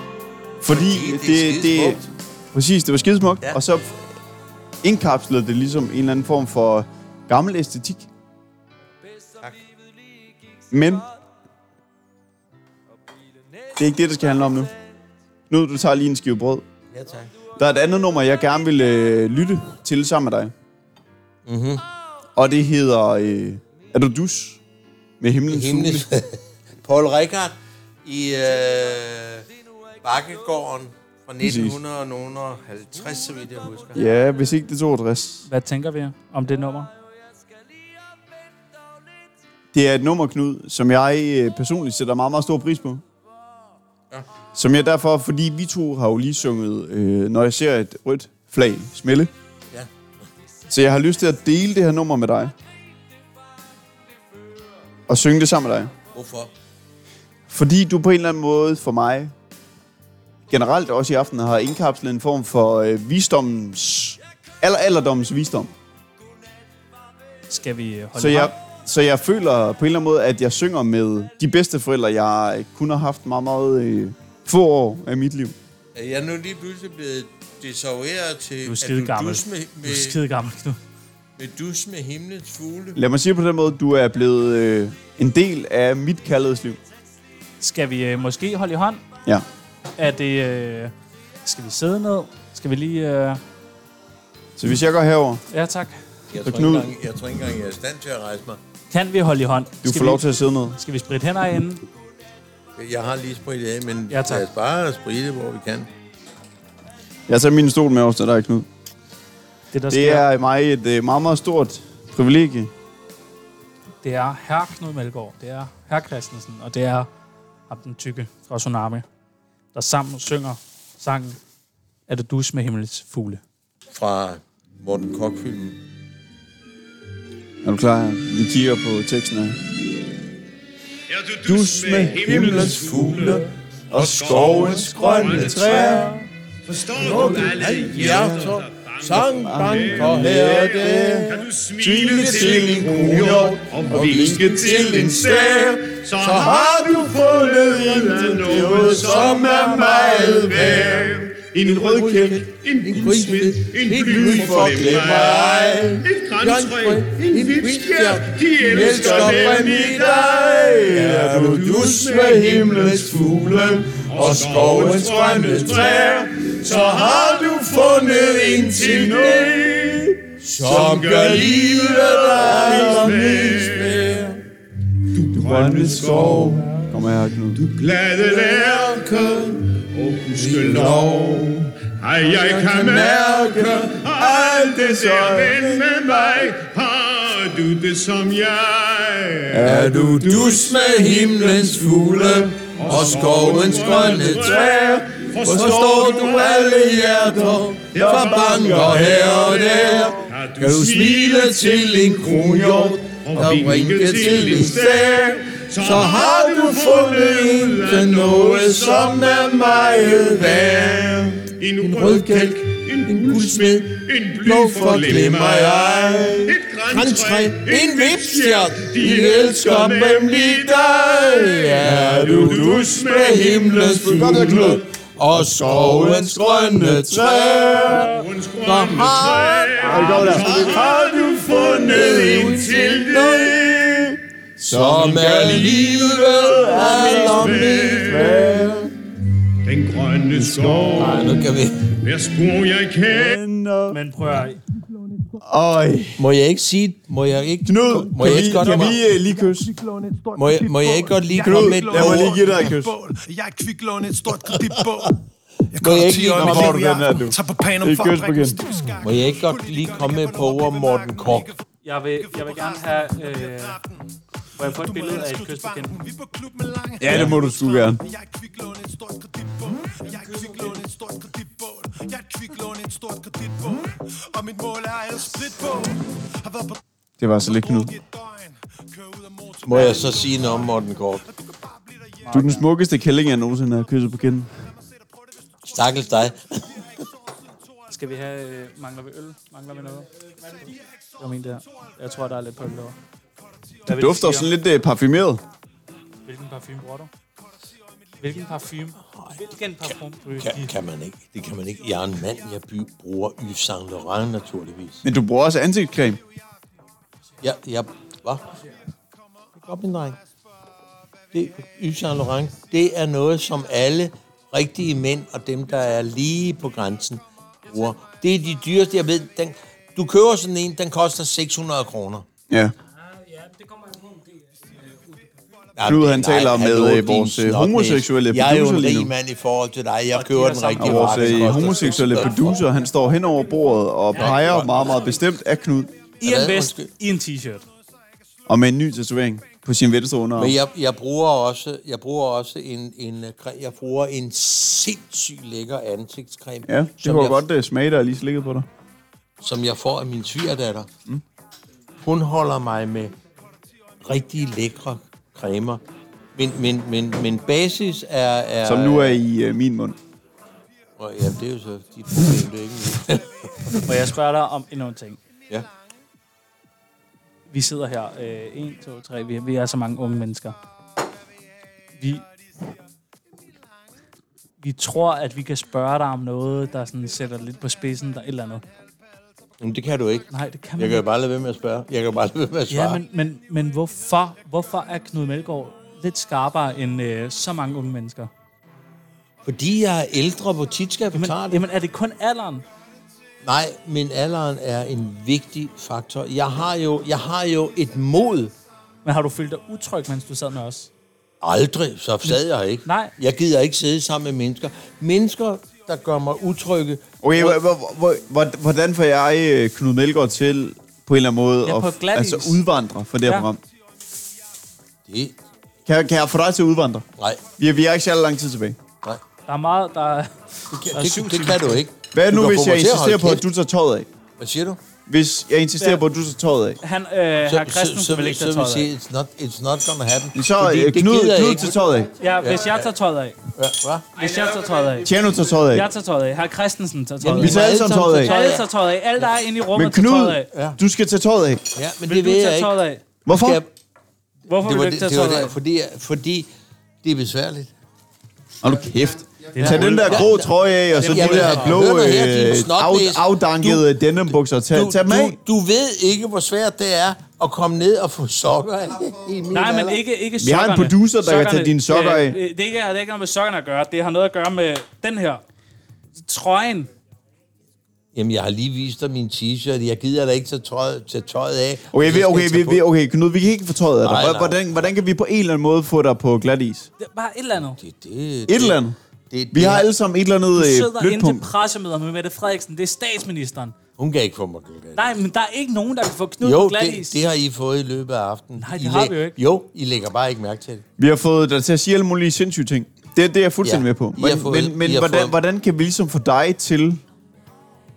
[SPEAKER 3] Fordi,
[SPEAKER 4] Fordi det er
[SPEAKER 3] det, det,
[SPEAKER 4] skidesmukt.
[SPEAKER 3] præcis, det var skidesmukt,
[SPEAKER 4] Ja.
[SPEAKER 3] ja. og så indkapslede det ligesom en eller anden form for gammel æstetik.
[SPEAKER 4] Tak.
[SPEAKER 3] Men det er ikke det, det skal handle om nu. Nu du tager lige en skive brød.
[SPEAKER 4] Ja, tak.
[SPEAKER 3] Der er et andet nummer, jeg gerne vil øh, lytte til sammen med dig.
[SPEAKER 4] Mhm.
[SPEAKER 3] Og det hedder... Øh, er du dus? Med himlens,
[SPEAKER 4] Himlens-
[SPEAKER 3] himlens. fugle.
[SPEAKER 4] Paul Rickard i øh, Bakkegården fra 1950, så vidt jeg husker.
[SPEAKER 3] Ja, hvis ikke det er 62.
[SPEAKER 2] Hvad tænker vi om det nummer?
[SPEAKER 3] Det er et nummer, Knud, som jeg øh, personligt sætter meget, meget stor pris på.
[SPEAKER 4] Ja.
[SPEAKER 3] Som jeg derfor, fordi vi to har jo lige sunget, øh, når jeg ser et rødt flag smelle.
[SPEAKER 4] Ja.
[SPEAKER 3] Så jeg har lyst til at dele det her nummer med dig. Og synge det sammen med dig.
[SPEAKER 4] Hvorfor?
[SPEAKER 3] Fordi du på en eller anden måde for mig, generelt også i aften, har indkapslet en form for øh, visdommens, aller, alderdommens visdom.
[SPEAKER 2] Skal vi øh, holde
[SPEAKER 3] Så jeg,
[SPEAKER 2] hånd?
[SPEAKER 3] så jeg føler på en eller anden måde, at jeg synger med de bedste forældre, jeg kun har haft meget, meget øh, få år af mit liv.
[SPEAKER 4] Er jeg nu lige pludselig blevet desaveret til,
[SPEAKER 2] Du er skide
[SPEAKER 4] at du
[SPEAKER 2] gammel.
[SPEAKER 4] dus med,
[SPEAKER 2] Du er
[SPEAKER 4] med,
[SPEAKER 2] skide gammel, Knud.
[SPEAKER 4] med, dus med himlens fugle?
[SPEAKER 3] Lad mig sige på den måde, du er blevet øh, en del af mit kærlighedsliv.
[SPEAKER 2] Skal vi øh, måske holde i hånd?
[SPEAKER 3] Ja.
[SPEAKER 2] Er det... Øh, skal vi sidde ned? Skal vi lige... Øh,
[SPEAKER 3] Så hvis jeg går herover,
[SPEAKER 2] ja, tak.
[SPEAKER 4] Jeg
[SPEAKER 3] Så
[SPEAKER 4] tror, ikke
[SPEAKER 3] Knud-
[SPEAKER 4] engang, jeg tror ikke engang, jeg er i stand til at rejse mig.
[SPEAKER 2] Kan vi holde i hånd?
[SPEAKER 3] du
[SPEAKER 2] skal
[SPEAKER 3] får
[SPEAKER 2] vi,
[SPEAKER 3] lov til at sidde ned.
[SPEAKER 2] Skal vi spritte hænder inden?
[SPEAKER 4] Jeg har lige spritet af, men
[SPEAKER 2] Ja, tak.
[SPEAKER 4] lad os bare sprite, hvor vi kan.
[SPEAKER 3] Jeg tager min stol med også til dig, Knud.
[SPEAKER 2] Det, der
[SPEAKER 3] Det
[SPEAKER 2] sker,
[SPEAKER 3] er mig et øh, meget, meget stort privilegie.
[SPEAKER 2] det er herr Knud Melgaard, det er herr Christensen, og det er ham den tykke fra Tsunami, der sammen synger sangen Er det dus med himlens fugle?
[SPEAKER 4] Fra Morten Kork-filmen.
[SPEAKER 3] Er du klar? Vi kigger på teksten her. Dus med himlens fugle og skovens grønne træer.
[SPEAKER 6] Forstår du alle
[SPEAKER 4] hjerter, sang, bank og
[SPEAKER 3] Her det
[SPEAKER 6] Kan du smile til en kronhjort og vinke til en stær, så har
[SPEAKER 4] du
[SPEAKER 6] fundet intet noget, som er meget værd. En rødkæld, en guldsmed, en bly for glem mig. Et grænstræk, en vipskjær, de elsker dem i dig. Er du dus med himlens fugle og skovens grønne træer, så har du fundet en til noget som gør livet allermest værd. Du
[SPEAKER 3] grønne skov. Kom her, Knud. Du
[SPEAKER 6] glade lærke og huske lov. Ej, jeg kan mærke alt det der ven med mig. Har du det som jeg?
[SPEAKER 4] Er du dus med himlens fugle og skovens grønne træer? Forstår du alle hjerter, der banker her og der? Kan du smile til en kronhjort og vinke til en stær? Så har du fundet en, der noget, som er meget værd. En rødkælk, en guldsmed, en blå for glemmer jeg. Et grantræ, en vipstjert, de elsker nemlig dig. Er du dus med himlens fugle og skovens grønne træer. Så har, har du fundet en til dig, som er livet allermest værd.
[SPEAKER 6] Den grønne skov.
[SPEAKER 4] Nej, nu kan vi...
[SPEAKER 6] Hver spor jeg
[SPEAKER 2] kender. Men prøv at...
[SPEAKER 3] Øj.
[SPEAKER 4] Må jeg ikke sige... Må jeg ikke...
[SPEAKER 3] Knud,
[SPEAKER 4] må jeg ikke godt
[SPEAKER 3] kan vi øh, lige kysse?
[SPEAKER 4] Må jeg, må jeg ikke godt lige
[SPEAKER 3] Knud,
[SPEAKER 4] komme med et
[SPEAKER 3] lad mig lige give dig et kys.
[SPEAKER 12] Jeg er kviklån et stort kreditbog. Jeg
[SPEAKER 4] Må jeg
[SPEAKER 12] kommer
[SPEAKER 4] ikke
[SPEAKER 12] til
[SPEAKER 4] lige
[SPEAKER 12] øjne
[SPEAKER 4] komme
[SPEAKER 12] med
[SPEAKER 4] med,
[SPEAKER 12] liv i
[SPEAKER 4] den her,
[SPEAKER 12] aften.
[SPEAKER 4] du?
[SPEAKER 12] Tager på panum
[SPEAKER 4] Det
[SPEAKER 12] for
[SPEAKER 4] er kys
[SPEAKER 12] at bringe
[SPEAKER 4] igen.
[SPEAKER 12] en stor
[SPEAKER 4] Må jeg ikke godt lige komme med på over Morten Kork?
[SPEAKER 2] Jeg vil, jeg vil gerne have... Øh, må jeg få et billede af et kys på kinden?
[SPEAKER 3] Ja, det må du sgu gerne. Det var så lidt Knud.
[SPEAKER 4] Må jeg så sige noget om Morten Kork?
[SPEAKER 3] Du er den smukkeste kælling, jeg nogensinde har kysset på kinden.
[SPEAKER 4] Stakkels dig.
[SPEAKER 2] Skal vi have... Øh, mangler vi øl? Mangler vi noget? Jeg mener der. Jeg tror, der er lidt på øl derovre. Hvad vil
[SPEAKER 3] Det dufter
[SPEAKER 2] sige
[SPEAKER 3] sådan
[SPEAKER 2] om-
[SPEAKER 3] lidt øh, parfumeret.
[SPEAKER 2] Hvilken parfume bruger du? Hvilken parfume? Hvilken parfume bruger du?
[SPEAKER 4] Kan, kan man ikke. Det kan man ikke. Jeg er en mand, jeg by, bruger Yves Saint Laurent naturligvis.
[SPEAKER 3] Men du bruger også ansigtscreme.
[SPEAKER 4] Jeg, jeg, hvad? Op, min dreng. Det, Yves Saint Laurent, det er noget, som alle rigtige mænd og dem, der er lige på grænsen, bruger. Det er de dyreste, jeg ved. Den, du køber sådan en, den koster 600 kroner.
[SPEAKER 3] Ja.
[SPEAKER 4] Ja,
[SPEAKER 3] Knud,
[SPEAKER 4] det-
[SPEAKER 3] han
[SPEAKER 4] nej,
[SPEAKER 3] taler med,
[SPEAKER 4] hallo,
[SPEAKER 3] øh,
[SPEAKER 4] din
[SPEAKER 3] vores, øh,
[SPEAKER 4] snotnæs.
[SPEAKER 3] homoseksuelle
[SPEAKER 4] Jeg er jo en
[SPEAKER 3] producer lige
[SPEAKER 4] rig
[SPEAKER 3] nu.
[SPEAKER 4] mand i forhold til dig. Jeg køber den rigtige
[SPEAKER 3] Og vores øh, homoseksuelle producer, han står hen over bordet og peger meget, meget bestemt af Knud.
[SPEAKER 2] I en vest, i en t-shirt.
[SPEAKER 3] Og med en ny tatovering på sin venstre underarm.
[SPEAKER 4] Men jeg, jeg bruger også, jeg bruger også en, en, øh, cre- jeg bruger en sindssygt lækker ansigtscreme,
[SPEAKER 3] Ja, det
[SPEAKER 4] som,
[SPEAKER 3] kunne jeg...
[SPEAKER 4] jeg,
[SPEAKER 3] godt øh, smage, der er lige slikket på dig.
[SPEAKER 4] som jeg får af min svigerdatter. Mm. Hun holder mig med rigtig lækre cremer. Men, men, men, men basis er... er
[SPEAKER 3] Som nu er i øh, min mund.
[SPEAKER 4] Nå, Ja, det er jo så dit problem, det er ikke
[SPEAKER 2] Må jeg spørge dig om endnu en ting?
[SPEAKER 4] Ja.
[SPEAKER 2] Vi sidder her. Øh, 1, 2, 3. Vi, vi er så mange unge mennesker. Vi, vi tror, at vi kan spørge dig om noget, der sådan sætter det lidt på spidsen, der et eller andet.
[SPEAKER 4] Jamen, det kan du ikke.
[SPEAKER 2] Nej, det kan man
[SPEAKER 4] Jeg kan jo
[SPEAKER 2] ikke.
[SPEAKER 4] bare lade være med at spørge. Jeg kan jo bare lade være med at svare.
[SPEAKER 2] Ja, men, men, men hvorfor, hvorfor er Knud Melgaard lidt skarpere end øh, så mange unge mennesker?
[SPEAKER 4] Fordi jeg er ældre, hvor tit skal jeg forklare det?
[SPEAKER 2] Jamen, er det kun alderen?
[SPEAKER 4] Nej, men alderen er en vigtig faktor. Jeg har jo, jeg har jo et mod.
[SPEAKER 2] Men har du følt dig utryg, mens du sad med os?
[SPEAKER 4] Aldrig, så sad jeg ikke.
[SPEAKER 2] Nej.
[SPEAKER 4] Jeg gider ikke sidde sammen med mennesker. Mennesker, der gør mig utrygge.
[SPEAKER 3] Okay, hvor, hvor, hvor, hvor, hvordan får jeg øh, Knud Melgaard til på en eller anden måde
[SPEAKER 4] Ja, på
[SPEAKER 3] at
[SPEAKER 4] glat
[SPEAKER 3] altså,
[SPEAKER 4] is.
[SPEAKER 3] udvandre fra det her
[SPEAKER 4] Ja.
[SPEAKER 3] program?
[SPEAKER 4] Det...
[SPEAKER 3] Kan, jeg- kan jeg få dig til at udvandre?
[SPEAKER 4] Nej.
[SPEAKER 3] Vi, vi har ikke særlig lang tid tilbage.
[SPEAKER 4] Nej.
[SPEAKER 2] Der er meget, der er...
[SPEAKER 4] Det, det, det kan du ikke.
[SPEAKER 3] Hvad
[SPEAKER 4] Du
[SPEAKER 3] nu,
[SPEAKER 4] kan
[SPEAKER 3] hvis
[SPEAKER 4] få
[SPEAKER 3] jeg
[SPEAKER 4] mig til at
[SPEAKER 3] insisterer
[SPEAKER 4] holde
[SPEAKER 3] på, at
[SPEAKER 4] kæft.
[SPEAKER 3] du tager tøjet af?
[SPEAKER 4] Hvad siger du?
[SPEAKER 3] Hvis jeg insisterer
[SPEAKER 4] Ja.
[SPEAKER 3] på, at du tager tøjet af?
[SPEAKER 2] Han, øh,
[SPEAKER 4] Så-
[SPEAKER 2] herr Christensen
[SPEAKER 4] så, så,
[SPEAKER 2] vil ikke tage
[SPEAKER 4] så, så,
[SPEAKER 2] tøjet af.
[SPEAKER 4] så, It's not, it's not gonna happen.
[SPEAKER 3] Så,
[SPEAKER 4] Fordi
[SPEAKER 3] øh,
[SPEAKER 4] det
[SPEAKER 3] Knud-
[SPEAKER 4] gider jeg
[SPEAKER 3] Knud
[SPEAKER 4] ikke.
[SPEAKER 3] tager tøjet af.
[SPEAKER 2] Ja, hvis jeg tager tøjet af.
[SPEAKER 4] Ja, hvad?
[SPEAKER 2] Hvis jeg tager tøjet af.
[SPEAKER 3] Tjerno tager tøjet af.
[SPEAKER 2] Jeg tager tøjet af. Herr Christensen tager tøjet
[SPEAKER 3] Jamen,
[SPEAKER 2] af.
[SPEAKER 3] vi tager alle sammen tøjet af.
[SPEAKER 2] Alle tager tøjet af. Alle, der er inde i rummet,
[SPEAKER 3] Men
[SPEAKER 2] tager tøjet
[SPEAKER 3] Knud,
[SPEAKER 2] af.
[SPEAKER 3] du skal tage tøjet af.
[SPEAKER 4] Ja, men
[SPEAKER 2] Vil
[SPEAKER 4] det
[SPEAKER 2] du
[SPEAKER 4] vil jeg
[SPEAKER 2] tage
[SPEAKER 4] ikke.
[SPEAKER 2] tøjet af?
[SPEAKER 3] Hvorfor?
[SPEAKER 4] Skal jeg-
[SPEAKER 2] Hvorfor
[SPEAKER 4] det
[SPEAKER 2] vil
[SPEAKER 4] var,
[SPEAKER 2] du ikke tage
[SPEAKER 4] det, det var
[SPEAKER 2] tøjet
[SPEAKER 4] der,
[SPEAKER 2] af?
[SPEAKER 4] fordi, fordi det er besværligt.
[SPEAKER 3] Hold nu kæft. Tag den der grå trøje af, og så de
[SPEAKER 4] Jamen,
[SPEAKER 3] der blå,
[SPEAKER 4] hør nu her, din
[SPEAKER 3] øh,
[SPEAKER 4] snotnæs.
[SPEAKER 3] af- afdankede denimbukser. Tag, tag dem
[SPEAKER 4] du,
[SPEAKER 3] af.
[SPEAKER 4] du ved ikke, hvor svært det er at komme ned og få sokker af. i min
[SPEAKER 2] Nej, men
[SPEAKER 4] alder.
[SPEAKER 2] ikke, ikke
[SPEAKER 3] Vi har en
[SPEAKER 2] sokkerne.
[SPEAKER 3] producer, der kan tage dine sokker
[SPEAKER 2] øh,
[SPEAKER 3] af.
[SPEAKER 2] øh, Det, er ikke, har ikke noget med sokkerne at gøre. Det har noget at gøre med den her. Trøjen.
[SPEAKER 4] Jamen, jeg har lige vist dig min t-shirt. Jeg gider da ikke tage tøjet, tage tøjet af.
[SPEAKER 3] Okay,
[SPEAKER 4] Så
[SPEAKER 3] vi,
[SPEAKER 4] skal
[SPEAKER 3] okay,
[SPEAKER 4] jeg tage
[SPEAKER 3] vi,
[SPEAKER 4] på.
[SPEAKER 3] vi, okay, Knud, vi kan ikke få tøjet af
[SPEAKER 4] Nej,
[SPEAKER 3] dig.
[SPEAKER 4] nej.
[SPEAKER 3] Hvordan, hvordan kan vi på en eller anden måde få dig på glat is?
[SPEAKER 2] Det er bare et eller andet.
[SPEAKER 4] Det, det,
[SPEAKER 3] Et eller andet.
[SPEAKER 4] Det,
[SPEAKER 3] Vi har alle sammen et eller
[SPEAKER 2] Du
[SPEAKER 3] andet øh,
[SPEAKER 2] sidder
[SPEAKER 3] blødt
[SPEAKER 2] inde til
[SPEAKER 3] punkt.
[SPEAKER 2] pressemøder med Mette Frederiksen. Det er statsministeren.
[SPEAKER 4] Hun kan ikke få mig glat.
[SPEAKER 2] Nej, men der er ikke nogen, der kan få Knud
[SPEAKER 4] Jo,
[SPEAKER 2] på glat
[SPEAKER 4] det, det har I fået i løbet af aftenen. Nej,
[SPEAKER 2] det har vi jo ikke.
[SPEAKER 4] Jo, I lægger bare ikke mærke til det.
[SPEAKER 3] Vi har fået dig til at sige alle mulige sindssyge ting. Det, det er jeg fuldstændig
[SPEAKER 4] Ja,
[SPEAKER 3] med på.
[SPEAKER 4] I
[SPEAKER 3] Men,
[SPEAKER 4] har fået-
[SPEAKER 3] men,
[SPEAKER 4] I
[SPEAKER 3] men
[SPEAKER 4] har
[SPEAKER 3] hvordan,
[SPEAKER 4] fået-
[SPEAKER 3] hvordan kan vi ligesom få dig til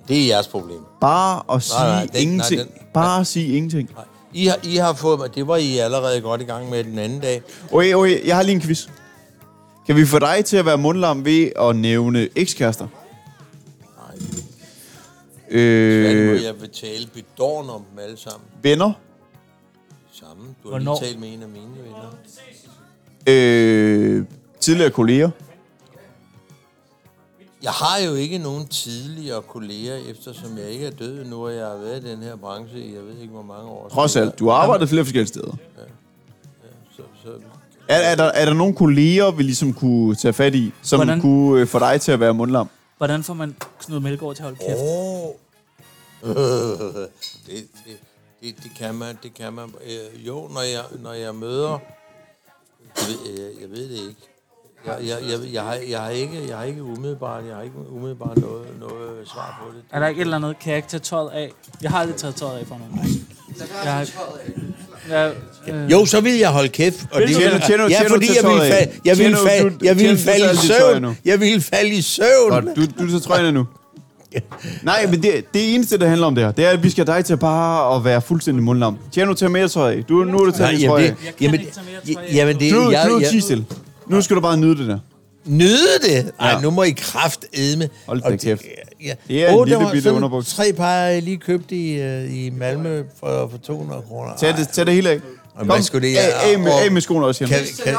[SPEAKER 4] Det er jeres problem.
[SPEAKER 3] bare at sige
[SPEAKER 4] Nej, nej,
[SPEAKER 3] nej,
[SPEAKER 4] den- nej,
[SPEAKER 3] ingenting?
[SPEAKER 4] den-
[SPEAKER 3] bare at sige ingenting.
[SPEAKER 4] I har, I har fået mig... Det var I allerede godt i gang med den anden dag.
[SPEAKER 3] Okay, okay, jeg har lige en quiz. Kan vi få dig til at være mundlam ved at nævne ekskærester? Nej.
[SPEAKER 4] Øh,
[SPEAKER 3] Øh,
[SPEAKER 4] jeg vil tale bedårende om dem alle sammen.
[SPEAKER 3] venner?
[SPEAKER 4] Sammen. Du har
[SPEAKER 2] Hvornår?
[SPEAKER 4] lige talt med en af mine venner.
[SPEAKER 3] Øh, tidligere kolleger?
[SPEAKER 4] Jeg har jo ikke nogen tidligere kolleger, eftersom jeg ikke er død nu, og jeg har været i den her branche i, jeg ved ikke hvor mange år.
[SPEAKER 3] Trods alt, du har arbejdet flere forskellige steder.
[SPEAKER 4] Så, så,
[SPEAKER 3] Er, er, der, er der nogle kolleger, vi ligesom kunne tage fat i, som
[SPEAKER 2] Hvordan?
[SPEAKER 3] Hvordan? kunne øh, få dig til at være mundlam?
[SPEAKER 2] Hvordan får man Knud Melgaard til at holde kæft?
[SPEAKER 4] Åh. det, det, det, det kan man, det kan man. Øh, jo, når jeg, når jeg møder... Jeg ved, øh, jeg, jeg ved det ikke. Jeg, jeg, jeg, jeg, har, jeg, har ikke, jeg har ikke umiddelbart, jeg har ikke umiddelbart noget, noget svar på det.
[SPEAKER 2] Er der ikke et eller andet? Kan jeg ikke tage tøjet af? Jeg har aldrig taget tøjet af for nogen. Jeg har... Jeg, øh,
[SPEAKER 4] Jo, så ville jeg holde kæft. Og
[SPEAKER 2] Vil
[SPEAKER 4] det,
[SPEAKER 2] du det? Tjener du-
[SPEAKER 4] ja,
[SPEAKER 2] tjener du
[SPEAKER 4] fordi
[SPEAKER 2] til
[SPEAKER 4] jeg ville,
[SPEAKER 2] tøjet af?
[SPEAKER 4] falde, jeg ville,
[SPEAKER 2] Tjener
[SPEAKER 4] falde,
[SPEAKER 2] du-
[SPEAKER 4] jeg
[SPEAKER 2] tjener du
[SPEAKER 4] ville
[SPEAKER 2] til
[SPEAKER 4] falde i
[SPEAKER 2] alt dit tøj
[SPEAKER 4] søvn.
[SPEAKER 2] nu?
[SPEAKER 4] Jeg ville falde i søvn.
[SPEAKER 3] Godt, du, du tager trøjen af nu. Nej, men det, det eneste, der handler om det her, det er, at vi skal have dig til bare at være fuldstændig mundlam. Tjeno, tag mere tøj af. Du, nu er det
[SPEAKER 4] Nej,
[SPEAKER 3] taget dit
[SPEAKER 4] jamen,
[SPEAKER 3] trøj
[SPEAKER 4] det-
[SPEAKER 3] af.
[SPEAKER 4] jamen, jamen, det-
[SPEAKER 3] Knud,
[SPEAKER 4] jeg-
[SPEAKER 3] Knud,
[SPEAKER 4] jeg-
[SPEAKER 3] tig stille. Nu skal du bare nyde det der.
[SPEAKER 4] Nyde det? Ej, nu må I kraft edme.
[SPEAKER 3] Hold da kæft.
[SPEAKER 4] Ja.
[SPEAKER 3] Det er en
[SPEAKER 4] Åh, der
[SPEAKER 3] lille
[SPEAKER 4] var
[SPEAKER 3] bitte
[SPEAKER 4] sådan
[SPEAKER 3] underbuks.
[SPEAKER 4] Tre par, jeg lige købte i, øh, i Malmø for, for 200 kroner.
[SPEAKER 3] Tag det, tag det hele af.
[SPEAKER 4] Og hvad skulle det-
[SPEAKER 3] af, af, med,
[SPEAKER 4] og-
[SPEAKER 3] af med skoene også,
[SPEAKER 4] Kan,
[SPEAKER 3] Tjeno.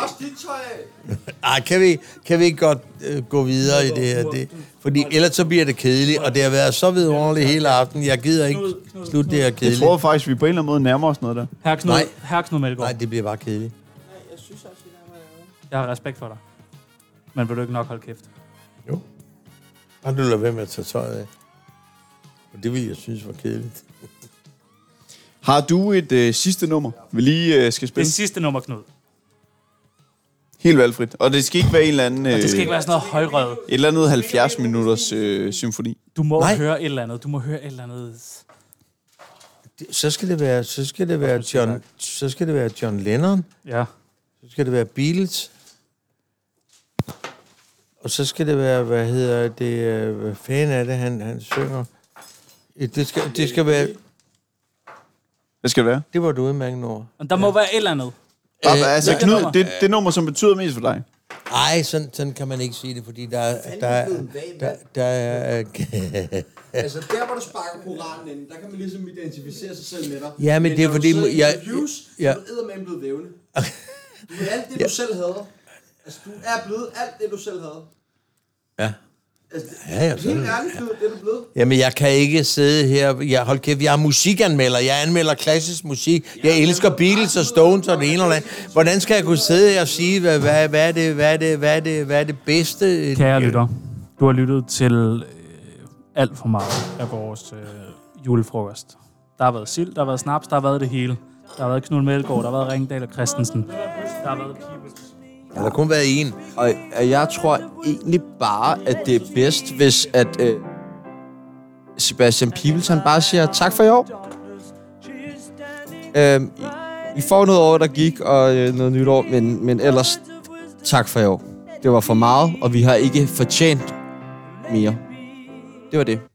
[SPEAKER 4] kan, ej, kan, vi, kan vi ikke godt øh, gå videre i det her? Det, fordi ellers så bliver det kedeligt, og det har været så vidunderligt hele aftenen. Jeg gider ikke slutte det her
[SPEAKER 3] Jeg
[SPEAKER 4] kedeligt.
[SPEAKER 3] tror faktisk, vi på en eller anden måde nærmer os noget der.
[SPEAKER 2] Herre Knud,
[SPEAKER 4] Nej.
[SPEAKER 2] herre Knud Melgaard,
[SPEAKER 4] Nej, det bliver bare kedeligt.
[SPEAKER 2] jeg har respekt for dig. Men vil du ikke nok holde kæft?
[SPEAKER 4] Har du lavet være med at tage tøjet af? Og det ville jeg synes var kedeligt.
[SPEAKER 3] Har du et øh, sidste nummer, vi lige øh, skal spille?
[SPEAKER 2] Det sidste nummer, Knud.
[SPEAKER 3] Helt valgfrit. Og det skal ikke være en eller anden... Øh,
[SPEAKER 2] Og det skal ikke være sådan noget højrød.
[SPEAKER 3] Et eller andet 70-minutters øh, symfoni.
[SPEAKER 2] Du må
[SPEAKER 4] Nej.
[SPEAKER 2] Nej. høre et eller andet. Du må høre et eller andet.
[SPEAKER 4] Så skal det være, så skal det være John, så skal det være John Lennon.
[SPEAKER 2] Ja.
[SPEAKER 4] Så skal det være Beatles. Og så skal det være, hvad hedder det, øh, hvad fanden er det, han, han synger? Øh, Det skal, det skal være,
[SPEAKER 3] Hvad skal det være?
[SPEAKER 4] det var du udmærket over.
[SPEAKER 2] Men der må være et eller andet.
[SPEAKER 3] Bare,
[SPEAKER 4] Øh,
[SPEAKER 3] altså,
[SPEAKER 2] hvilket nummer?
[SPEAKER 3] Knud, det, det nummer, som betyder mest for dig.
[SPEAKER 4] Ej, sådan, sådan kan man ikke sige det, fordi der, er- der, er- der, der er...
[SPEAKER 13] Altså, der hvor du sparker koranen ind, der kan man ligesom identificere sig selv med dig.
[SPEAKER 4] Ja, men det
[SPEAKER 13] når
[SPEAKER 4] er
[SPEAKER 13] du
[SPEAKER 4] fordi,
[SPEAKER 13] sidder i
[SPEAKER 4] jeg-
[SPEAKER 13] interviews,
[SPEAKER 4] ja.
[SPEAKER 13] ja. du er eddermame blevet vævende. Du er alt det, du
[SPEAKER 4] Ja.
[SPEAKER 13] selv hader. Altså, du er blevet alt det, du selv hader.
[SPEAKER 4] Ja.
[SPEAKER 13] Altså, det-
[SPEAKER 4] Ja, ja, sådan
[SPEAKER 13] Helt
[SPEAKER 4] er det.
[SPEAKER 13] ærligt, det er du blevet.
[SPEAKER 4] Jamen, jeg kan ikke sidde her... Jeg, hold kæft, jeg er musikanmelder. Jeg anmelder klassisk musik. Jeg elsker Beatles og Stones og det ene eller andet. Hvordan skal jeg kunne sidde her og sige, hvad, hvad, hvad, er, det, hvad, er, det, hvad, er, det, hvad er det bedste?
[SPEAKER 2] Kære lytter, du har lyttet til øh, alt for meget af vores øh, julefrokost. Der har været sild, der har været snaps, der har været det hele. Der har været Knud Melgaard, der har været Ringdal og Christensen. Der har været
[SPEAKER 4] Har der kun været en?
[SPEAKER 7] Og øh, jeg tror egentlig bare, at det er bedst, hvis at øh, Sebastian Pibels, han bare siger tak for i år. Øh, I får noget år, der gik, og øh, noget nyt år, men, men ellers tak for i år. Det var for meget, og vi har ikke fortjent mere. Det var det.